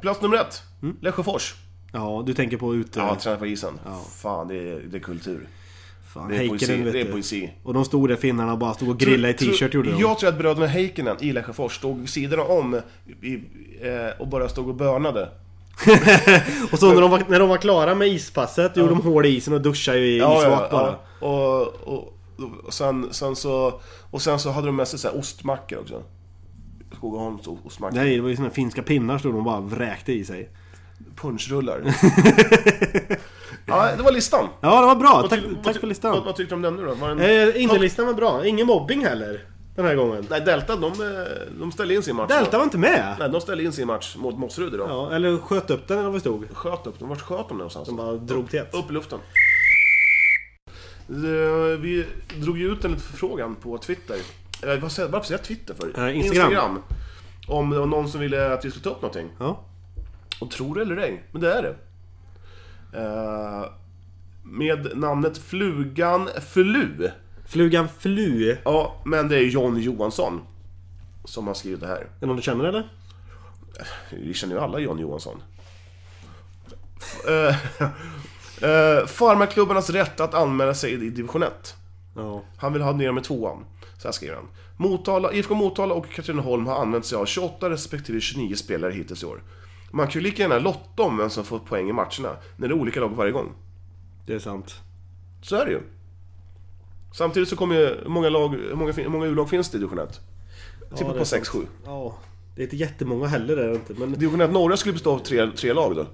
Speaker 1: Plats nummer ett,
Speaker 2: Mm.
Speaker 1: Lesjöfors.
Speaker 2: Ja, du tänker på ute...
Speaker 1: Ja, träna på isen.
Speaker 2: Ja.
Speaker 1: Fan, det är, det är kultur.
Speaker 2: fan,
Speaker 1: det är
Speaker 2: Heikkinen,
Speaker 1: poesi,
Speaker 2: vet
Speaker 1: det är
Speaker 2: du.
Speaker 1: poesi.
Speaker 2: Och de stora finnarna bara stod och grillade i
Speaker 1: Tror-
Speaker 2: t-shirt gjorde de.
Speaker 1: Jag tror att bröderna Heikkinen i Lesjöfors stod vid sidorna om i, eh, och bara stod och bönade.
Speaker 2: Och så när de, var, när de var klara med ispasset gjorde de hål i isen och duschade i isvak bara.
Speaker 1: Och, och, och, sen, sen så, och sen så hade de med sig så här ostmackor också. Skogaholms o- ostmackor.
Speaker 2: Nej, det var ju såna finska pinnar stod de bara vräkte i sig.
Speaker 1: Punchrullar. ja, det var listan.
Speaker 2: Ja, det var bra.
Speaker 1: Vad
Speaker 2: Tack,
Speaker 1: ty- vad
Speaker 2: tack
Speaker 1: ty-
Speaker 2: för
Speaker 1: Vad,
Speaker 2: listan.
Speaker 1: vad tyckte du om den nu då? Var den...
Speaker 2: Eh, Innerlistan var bra. Ingen mobbing heller. Den här gången.
Speaker 1: Nej, Delta, de, eh, de ställde in sin match.
Speaker 2: Delta var inte med.
Speaker 1: Nej, de ställde in sin match mot Mossrud idag.
Speaker 2: Ja, eller sköt upp den eller vad det stod.
Speaker 1: Sköt upp dem. Vart sköt de någonstans?
Speaker 2: De bara drog till ett.
Speaker 1: Upp i luften. Eh, Vi drog ju ut en liten förfrågan på Twitter. Eh, vad säger- Varför säger jag Twitter för?
Speaker 2: Eh, Instagram.
Speaker 1: Om det var någon som ville att vi skulle ta upp någonting.
Speaker 2: Ja.
Speaker 1: Och tror det eller ej, men det är det. Eh, Med namnet Flugan Flu.
Speaker 2: Flugan Flu. Är
Speaker 1: Ja, men det är John Johansson. Som har skrivit det här.
Speaker 2: det någon du känner eller?
Speaker 1: Vi känner ju alla John Johansson. Eh, eh, Farmaklubbarnas rätt att anmäla sig i division 1.
Speaker 2: Ja.
Speaker 1: Han vill ha ner med tvåan. Så här skriver han. Motala, IFK Motala och Katrineholm har använt sig av 28 respektive 29 spelare hittills i år. Man kan ju lika gärna lotta om vem som får poäng i matcherna, när det är olika lag varje gång.
Speaker 2: Det är sant.
Speaker 1: Så är det ju. Samtidigt så kommer ju, hur många, lag, hur många, fin- hur många U-lag finns det i division 1? Jag tippar
Speaker 2: det
Speaker 1: på
Speaker 2: är sant.
Speaker 1: 6-7.
Speaker 2: Ja. Det är inte jättemånga heller det är det inte. Men
Speaker 1: Division 1 norra skulle bestå av tre, tre lag då.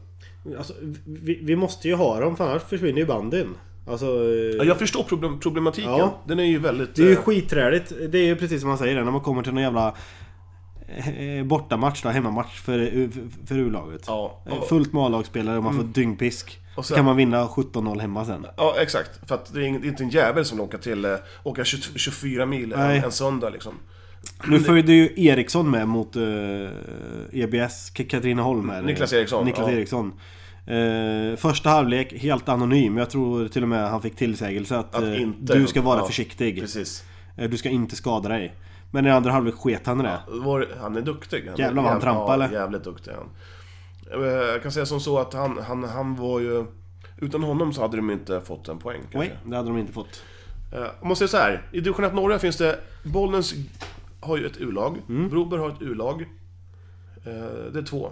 Speaker 2: alltså, vi, vi måste ju ha dem för annars försvinner ju bandyn. Alltså... eh,
Speaker 1: Ja, Jag förstår problem, problematiken.
Speaker 2: Ja.
Speaker 1: Den är ju väldigt...
Speaker 2: Det är ju
Speaker 1: eh,
Speaker 2: skitträligt. Det är ju precis som man säger det, när man kommer till någon jävla eh, bortamatch då, hemmamatch för, för, för U-laget.
Speaker 1: Ja. Mm.
Speaker 2: Eh, Fullt med A-lagsspelare och man får dyngpisk.
Speaker 1: Och
Speaker 2: så
Speaker 1: sen-
Speaker 2: kan man vinna 17-0 hemma sen.
Speaker 1: Ja, exakt. För att det är ing- det är inte en jävel som åker till eh, åka 20, 24 mil en,
Speaker 2: Nej.
Speaker 1: en söndag liksom.
Speaker 2: Nu följde ju Eriksson med mot eh, EBS, K- Katrineholm här.
Speaker 1: Niklas Eriksson,
Speaker 2: Niklas
Speaker 1: ja.
Speaker 2: Eriksson. Eh, första halvlek, helt anonym. Jag tror till och med han fick tillsägelse att,
Speaker 1: Att
Speaker 2: eh,
Speaker 1: inte-
Speaker 2: du ska vara
Speaker 1: ja,
Speaker 2: försiktig.
Speaker 1: Precis.
Speaker 2: Eh, Du ska inte skada dig. Men i andra halvlek sket han i det.
Speaker 1: Vår, han är duktig. Han,
Speaker 2: Jävlar vad han
Speaker 1: jäv-
Speaker 2: trampar,
Speaker 1: ja,
Speaker 2: eller?
Speaker 1: jävligt duktig han. Eh, Jag kan säga som så att han, han, han var ju... Utan honom så hade de inte fått en poäng kanske.
Speaker 2: Nej, det hade de inte fått.
Speaker 1: Eh, Om man säger så här, i division 1 norra finns det... Bollnäs har ju ett U-lag, Broberg har ett U-lag. Eh, Det är två.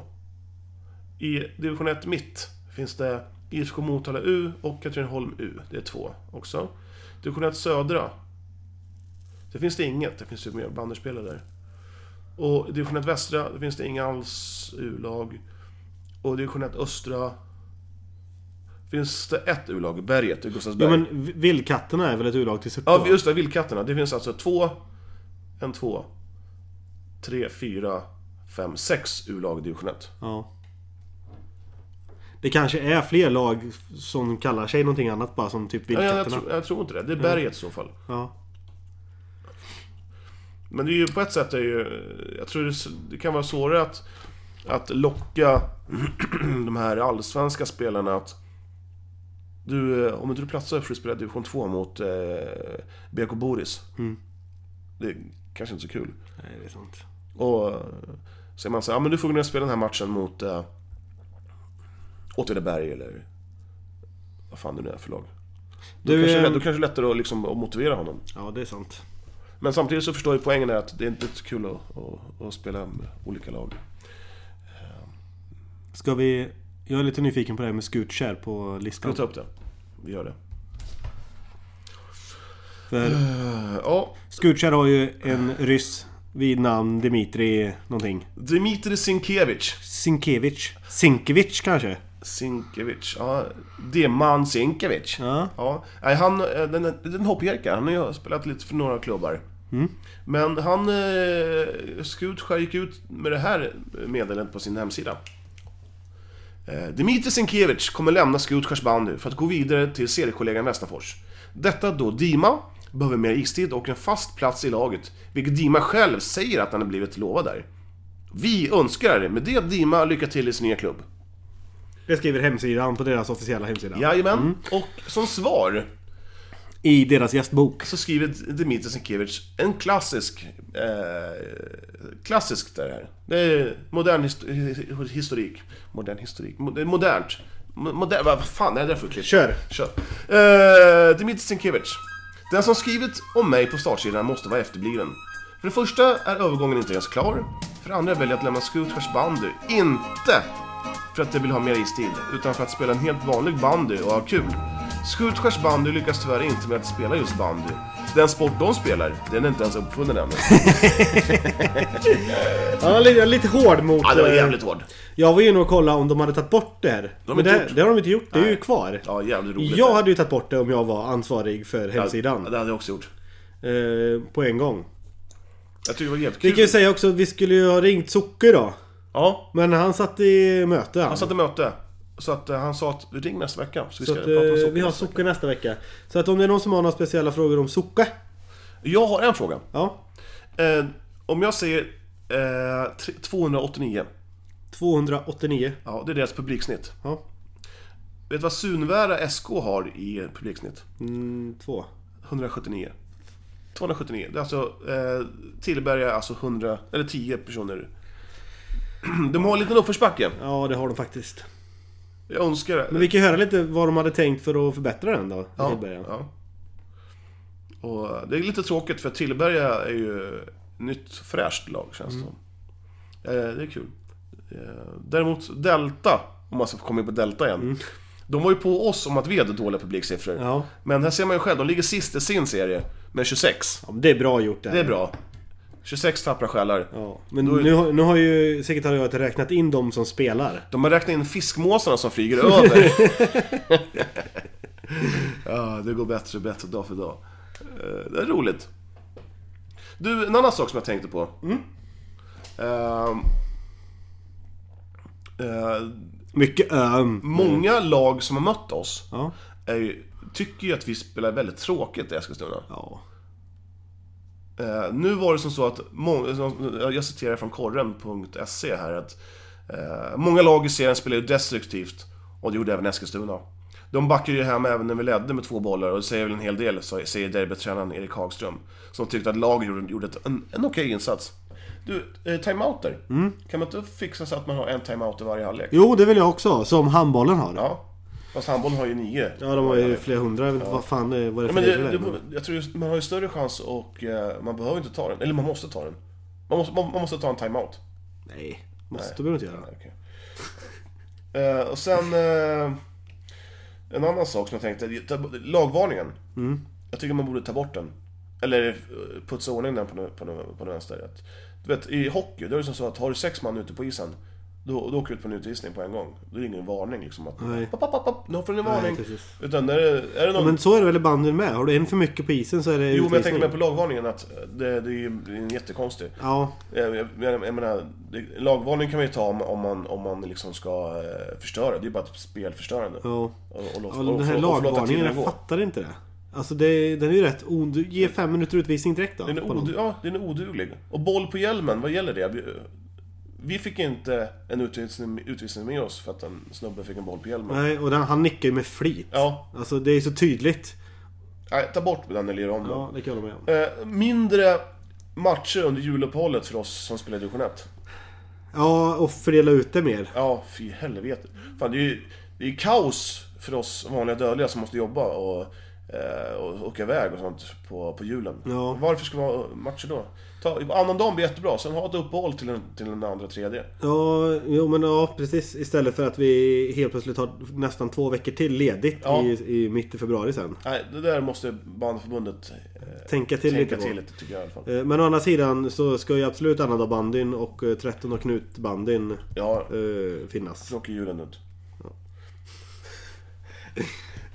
Speaker 1: I division 1 mitt finns det IFK Motala U och Katrineholm U. Det är två också. Division 1 södra. Det finns det inget, det finns ju mer banderspelare där. Och i division 1 västra, det finns det inga alls U-lag. Och i division 1 östra finns det ett U-lag, Berget, i
Speaker 2: Ja
Speaker 1: Gustavsberg.
Speaker 2: men v- Vildkatterna är väl ett urlag till Surte?
Speaker 1: Ja,
Speaker 2: va?
Speaker 1: just det. Vildkatterna. Det finns alltså två, en två, tre, fyra, fem, sex U-lag i division 1.
Speaker 2: ja. Det kanske är fler lag som kallar sig någonting annat bara som typ
Speaker 1: Jag, jag,
Speaker 2: Vildkatterna.
Speaker 1: tror- jag tror inte det. Det är berget i så fall.
Speaker 2: Ja.
Speaker 1: Men det är ju på ett sätt är ju... Jag tror det, s- det kan vara svårare att, att locka de här allsvenska spelarna att... Du, eh, om inte du platsar får du spela division 2 mot eh, BK Boris. Det är kanske inte så kul.
Speaker 2: Nej, det är sant.
Speaker 1: Och eh, så är man så här, ja men du får gå ner och spela den här matchen mot eh, Åtvidaberg eller vad fan det nu är för lag. Då,
Speaker 2: Du,
Speaker 1: kanske,
Speaker 2: eh,
Speaker 1: då kanske det är lättare att, liksom, att motivera honom.
Speaker 2: Ja, det är sant.
Speaker 1: Men samtidigt så förstår jag poängen är att det är inte så kul att, att, att spela med olika lag.
Speaker 2: Ska vi... Jag är lite nyfiken på det här med Skutskär på
Speaker 1: Ska
Speaker 2: listan.
Speaker 1: vi ta upp det? Vi gör det.
Speaker 2: För
Speaker 1: Eh, Ja,
Speaker 2: Skutskär har ju en ryss vid namn Dmitri någonting.
Speaker 1: Dmitrij Sinkevich.
Speaker 2: Sinkevich. Sinkevich kanske?
Speaker 1: Sinkevich, ja. Det är man Sinkevich.
Speaker 2: Ja.
Speaker 1: Nej, han, eh, den, den hoppjerka, han har ju spelat lite för några klubbar. Men han, eh, Skutskär gick ut med det här meddelandet på sin hemsida. Eh, Dmitrij Sinkevich kommer lämna Skutskärs band nu för att gå vidare till seriekollegan Västerfors. Detta då Dima behöver mer istid och en fast plats i laget, vilket Dima själv säger att han har blivit lovad där. Vi önskar med det Dima lycka till i sin nya klubb.
Speaker 2: Det skriver hemsidan på deras officiella hemsida.
Speaker 1: Jajamän, och som svar
Speaker 2: I deras gästbok.
Speaker 1: så skriver Dmitrij Sinkevich en klassisk... Eh, klassisk det här. Det är modern histo- historik. Modern historik. Mo- det är Modernt. Mo- Modern, vad vad fan är det där för klipp?
Speaker 2: Kör.
Speaker 1: Kör. Eh, Dmitrij Sinkevich. Den som skrivit om mig på startsidan måste vara efterbliven. För det första är övergången inte ens klar. För det andra väljer jag att lämna Skutskärs bandy. Inte för att jag vill ha mer istid, utan för att spela en helt vanlig bandy och ha kul. Skutskärs bandy lyckas tyvärr inte med att spela just bandy. Den sport de spelar, den är inte ens uppfunnen ännu.
Speaker 2: Ja, lite, lite hård mot...
Speaker 1: Ja, det var
Speaker 2: eh,
Speaker 1: jävligt hård.
Speaker 2: Jag var inne och kollade om de hade tagit bort det här.
Speaker 1: har
Speaker 2: Men
Speaker 1: inte
Speaker 2: det,
Speaker 1: gjort.
Speaker 2: det har de inte gjort. Det är ju kvar.
Speaker 1: Ja, jävligt roligt.
Speaker 2: Jag hade ju tagit bort det om jag var ansvarig för hemsidan.
Speaker 1: Ja, det hade jag också gjort.
Speaker 2: Eh, på en gång.
Speaker 1: Jag tycker det var jävligt
Speaker 2: Vi
Speaker 1: kul.
Speaker 2: kan ju säga också att vi skulle ju ha ringt Socke då.
Speaker 1: Ja,
Speaker 2: Men han satt i möte han.
Speaker 1: han satte möte. Så att eh, han sa att ring nästa vecka. Så vi
Speaker 2: Så
Speaker 1: ska
Speaker 2: att,
Speaker 1: prata om
Speaker 2: eh,
Speaker 1: socker
Speaker 2: vi har
Speaker 1: nästa vecka.
Speaker 2: Socke nästa vecka. Så att om det är någon som har några speciella frågor om Socke.
Speaker 1: Jag har en fråga.
Speaker 2: Ja.
Speaker 1: Eh, om jag säger eh, tre- 289.
Speaker 2: 289.
Speaker 1: Ja, det är deras publiksnitt.
Speaker 2: Ja.
Speaker 1: Vet du vad Sunvära SK har i publiksnitt?
Speaker 2: Mm, två.
Speaker 1: 179. 279. Det är alltså eh, Tillberga, alltså 100, eller 10 personer. De har en liten uppförsbacke.
Speaker 2: Ja, det har de faktiskt.
Speaker 1: Jag önskar det.
Speaker 2: Men vi kan ju höra lite vad de hade tänkt för att förbättra den då. i
Speaker 1: ja,
Speaker 2: Tillberga.
Speaker 1: ja. Och eh, det är lite tråkigt för Tillberga är ju nytt fräscht lag känns
Speaker 2: Mm.
Speaker 1: det som. Eh, det är kul. Eh, däremot Delta, om man ska komma in på Delta igen. De var ju på oss om att vi hade dåliga publiksiffror.
Speaker 2: Mm. Ja.
Speaker 1: Men här ser man ju själv, de ligger sist i sin serie med 26.
Speaker 2: Ja, men det är bra gjort det. här.
Speaker 1: Det är bra. 26 tappra själar.
Speaker 2: Ja, men nu, har- nu har ju sekretariatet räknat in de som spelar.
Speaker 1: De har räknat in fiskmåsarna som flyger över. ja, det går bättre och bättre dag för dag. Eh, Det är roligt. Du, en annan sak som jag tänkte på. Ehm, eh,
Speaker 7: Mycket öm.
Speaker 1: många lag som har mött oss
Speaker 7: Mm. Ja.
Speaker 1: är ju, tycker ju att vi spelar väldigt tråkigt i Eskilstuna.
Speaker 7: Ja.
Speaker 1: Eh, nu var det som så att, må- som- jag citerar från korren.se E här att eh, Många lag i serien spelar ju destruktivt och det gjorde även Eskilstuna. De backade ju hem även när vi ledde med två bollar och det säger väl en hel del, sa- säger derbytränaren Erik Hagström. Som tyckte att laget gjorde, gjorde ett, en, en okej insats. Du, eh, timeouter.
Speaker 7: Mm.
Speaker 1: Kan man inte fixa så att man har en timeout i varje halvlek?
Speaker 7: Jo, det vill jag också ha, Som handbollen har.
Speaker 1: Ja. Fast handbollen har ju nio.
Speaker 7: Ja, de har ju flera hundra. Jag vet inte vad fan det är. Vad det är
Speaker 1: Ja,
Speaker 7: för
Speaker 1: men
Speaker 7: regler
Speaker 1: det,
Speaker 7: där,
Speaker 1: det, jag tror just, man har ju större chans och eh, man behöver inte ta den. Eller man måste ta den. Man måste, man, man måste ta en timeout.
Speaker 7: Nej, måste behöver du inte göra.
Speaker 1: Nej, okej. Eh, och sen... Eh, en annan sak som jag tänkte. det- det- Lagvarningen.
Speaker 7: Mm.
Speaker 1: Jag tycker man borde ta bort den. Eller eh, putsa ordning den på, nå- på, nå- på den vänster. Att- Du vet, i hockey, då är det som så att har du sex man ute på isen. Då, då åker du ut på en utvisning på en gång. Då är det ingen varning liksom. Att,
Speaker 7: Nej.
Speaker 1: Pop, pop, pop, pop, nu får du en varning.
Speaker 7: precis.
Speaker 1: Utan när det, är det någon...
Speaker 7: Men så är det väl i bandyn med? Har du en för mycket på isen så är det
Speaker 1: Jo, men jag
Speaker 7: utvisning.
Speaker 1: tänker mer på lagvarningen att det, det är ju det är en jättekonstig.
Speaker 7: Ja,
Speaker 1: Jag, jag, jag menar, det, lagvarning kan man ju ta om, om man, om man liksom ska eh, förstöra. Det är bara ett spelförstörande.
Speaker 7: ja.
Speaker 1: Och, och, låt-
Speaker 7: ja den
Speaker 1: och
Speaker 7: här
Speaker 1: förlåt- och förlåta
Speaker 7: lagvarningen,
Speaker 1: tiden
Speaker 7: jag
Speaker 1: gå.
Speaker 7: fattar inte det. Alltså det, den är ju rätt ond... Ge fem minuter utvisning direkt då.
Speaker 1: Den är,
Speaker 7: på någon.
Speaker 1: odu- ja, den är oduglig. Och boll på hjälmen, vad gäller det? Vi, vi fick inte en utvisning, utvisning med oss för att en snubbe fick en boll på hjälmen.
Speaker 7: Nej, och den, han nickar ju med flit.
Speaker 1: Ja,
Speaker 7: Alltså det är så tydligt.
Speaker 1: nej, ta bort den eller gör om den.
Speaker 7: Ja, det kan jag hålla med om.
Speaker 1: Eh, mindre matcher under juluppehållet för oss som spelar i division 1.
Speaker 7: Ja, och fördela ut det mer.
Speaker 1: Ja, fy helvete. Fan, det är ju det är ju kaos för oss vanliga dödliga som måste jobba och, eh, och åka iväg och sånt på, på julen.
Speaker 7: Ja.
Speaker 1: Varför ska vi ha matcher då? Ta, annan dagen blir jättebra, sen ha ett uppehåll till den, till den andra tredje.
Speaker 7: Ja, jo men ja precis. Istället för att vi helt plötsligt har nästan två veckor till ledigt
Speaker 1: Ja.
Speaker 7: i, i mitt i februari sen.
Speaker 1: Nej, det där måste bandförbundet eh,
Speaker 7: Tänka till
Speaker 1: tänka
Speaker 7: lite på.
Speaker 1: till lite, tycker jag i alla fall.
Speaker 7: Eh, Men å andra sidan så ska ju absolut annandag bandyn och eh, 13 och knut bandyn
Speaker 1: Ja,
Speaker 7: eh, finnas.
Speaker 1: nu åker julen ut.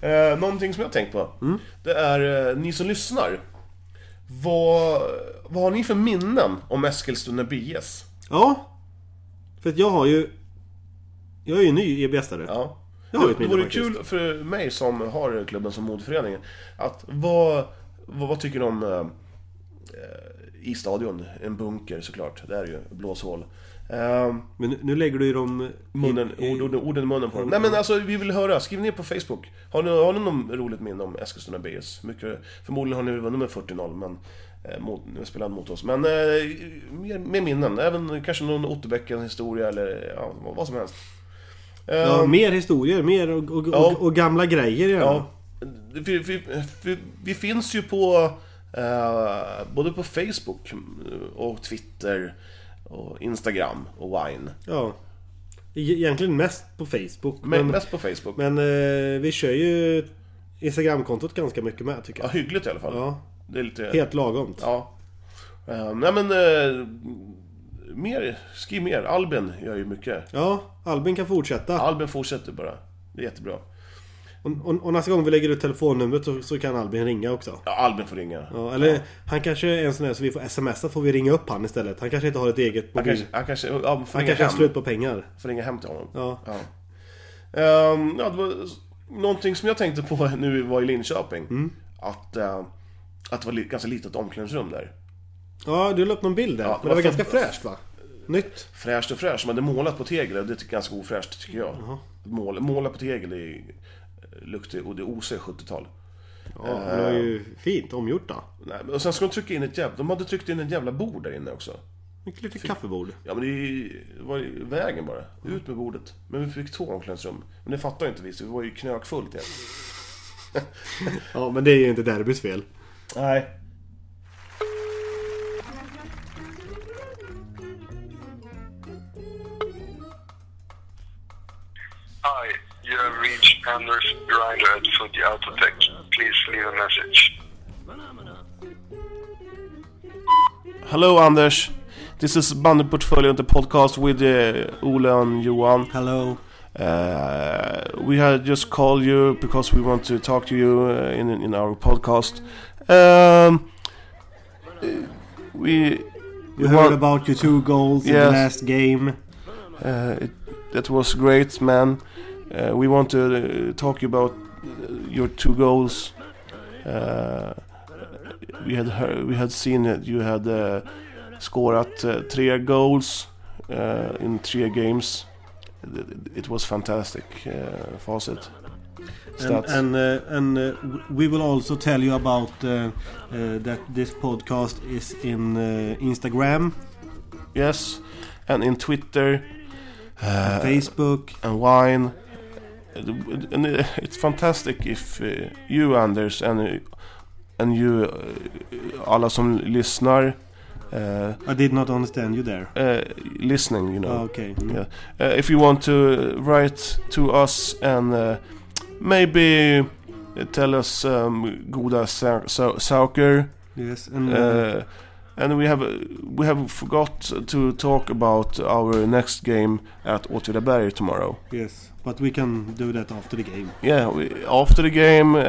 Speaker 1: Eh, någonting som jag har tänkt på.
Speaker 7: Mm.
Speaker 1: Det är eh, ni som lyssnar. Vad, vad har ni för minnen om Eskilstuna BS?
Speaker 7: Ja! För att jag har ju... Jag är ju ny E EBS-are.
Speaker 1: Ja.
Speaker 7: Jag har
Speaker 1: Det,
Speaker 7: ju ett
Speaker 1: det
Speaker 7: minne
Speaker 1: vore
Speaker 7: faktiskt.
Speaker 1: kul för mig som har klubben som moderföreningen att vad, vad, vad tycker du om eh, eh, i stadion? En bunker såklart, det är ju blåshål. Eh,
Speaker 7: Men nu- nu lägger du ju dem...
Speaker 1: munnen,
Speaker 7: i,
Speaker 1: ord,
Speaker 7: i,
Speaker 1: ord, orden i munnen på dem. Nej men alltså vi vill höra, skriv ner på Facebook. Har ni, har ni någon roligt minne om Eskilstuna BS? Mycket, förmodligen har ni vunnit med 40-0 men eh, mot, ni spelade mot oss. Men eh, mer, mer minnen, även kanske någon Otterbäckens historia eller ja, vad- vad som helst. Eh,
Speaker 7: ja, mer historier, mer och, och,
Speaker 1: Ja.
Speaker 7: och, och gamla grejer gärna.
Speaker 1: Ja. Vi, vi, vi, vi finns ju på eh, både på Facebook eh, och Twitter och Instagram och Wine.
Speaker 7: Ja. E- Egentligen mest på Facebook.
Speaker 1: Men, mest på Facebook.
Speaker 7: Men eh, vi kör ju Instagramkontot ganska mycket med tycker
Speaker 1: ja,
Speaker 7: jag.
Speaker 1: hyggligt i alla fall.
Speaker 7: Ja,
Speaker 1: Det är lite...
Speaker 7: helt lagomt.
Speaker 1: Ja. Eh, nej men... eh, mer, skriv mer. Albin gör ju mycket.
Speaker 7: Ja, Albin kan fortsätta.
Speaker 1: Albin fortsätter bara. Det är jättebra.
Speaker 7: Och, och, och nästa gång vi lägger ut telefonnumret så, så kan Albin ringa också.
Speaker 1: Ja, Albin får ringa.
Speaker 7: Ja, eller han kanske är en sån där så vi får smsa får vi ringa upp han istället. Han kanske inte har ett eget
Speaker 1: Han
Speaker 7: mobil.
Speaker 1: kanske... Han kanske, ja, men får ringa
Speaker 7: Han kanske har
Speaker 1: hem.
Speaker 7: slut på pengar.
Speaker 1: får ringa hem till honom.
Speaker 7: Ja.
Speaker 1: Ja. Ehm, ja, det var s- någonting som jag tänkte på nu var i Linköping.
Speaker 7: Mm.
Speaker 1: Att, eh, att det var li- ganska litet omklädningsrum där.
Speaker 7: Ja, du la upp någon bild där.
Speaker 1: Ja,
Speaker 7: men det var
Speaker 1: vad fan-
Speaker 7: ganska fräscht va? Nytt.
Speaker 1: Fräscht och fräscht, men det är målat på tegel och det är ganska ofräscht tycker jag. Måla, måla på tegel det är, luktar och det osar 70-tal.
Speaker 7: Ja, men det var ju
Speaker 1: eh,
Speaker 7: fint omgjort då.
Speaker 1: Nej, men- Och sen ska de trycka in ett jävla... De hade tryckt in ett jävla bord där inne också.
Speaker 7: Ett litet kaffebord.
Speaker 1: Ja men det är ju- det var ju vägen bara. Ut med bordet. Men vi fick två omklädningsrum. Men det fattar inte vi, så det var ju knökfullt egentligen.
Speaker 7: Ja, men det är ju inte derbys fel.
Speaker 1: Nej.
Speaker 6: Hi, you have reached Anders Grinder at Footy Autotech. Please leave a message.
Speaker 1: Hello Anders. This is Bandy Portfolio, the podcast with uh, Ole and Johan.
Speaker 7: Hello.
Speaker 1: Uh, we had just called you because we want to talk to you uh, in in our podcast. Um, uh, we
Speaker 2: You
Speaker 1: Hur-
Speaker 2: heard about your two goals in the
Speaker 1: Yes.
Speaker 2: last game.
Speaker 1: Uh, it, that was great, man. Uh, we want to uh, talk about uh, your two goals. Uh, we had heard, we had seen that you had uh, scorat uh, tre goals uh, in three games. It, it was fantastic uh, facet.
Speaker 2: And,
Speaker 1: Stats.
Speaker 2: and, uh, and uh, w- we will also tell you about uh, uh, that this podcast is in uh, Instagram,
Speaker 1: yes, and in Twitter, uh,
Speaker 2: Facebook.
Speaker 1: and wine. And uh, it's fantastic if uh, you Anders and, uh, and you uh, alla som lyssnar uh,
Speaker 2: I did not understand you there.
Speaker 1: uh, listening, you know.
Speaker 2: Okay.
Speaker 1: Yeah. Uh, if you want to write to us and uh, maybe tell us um, goda sa- sa- saker.
Speaker 2: Yes. And uh,
Speaker 1: Uh, and we have uh, we have forgot to talk about our next game at Åtvidaberg tomorrow.
Speaker 2: yes, but we can do that after the game.
Speaker 1: yeah, we, after the game, uh,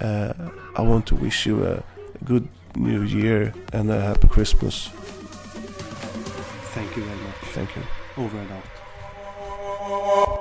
Speaker 1: uh, I want to wish you a good new year and a happy Christmas.
Speaker 2: Thank you very much.
Speaker 1: Thank you.
Speaker 2: Over and out.
Speaker 6: Åh,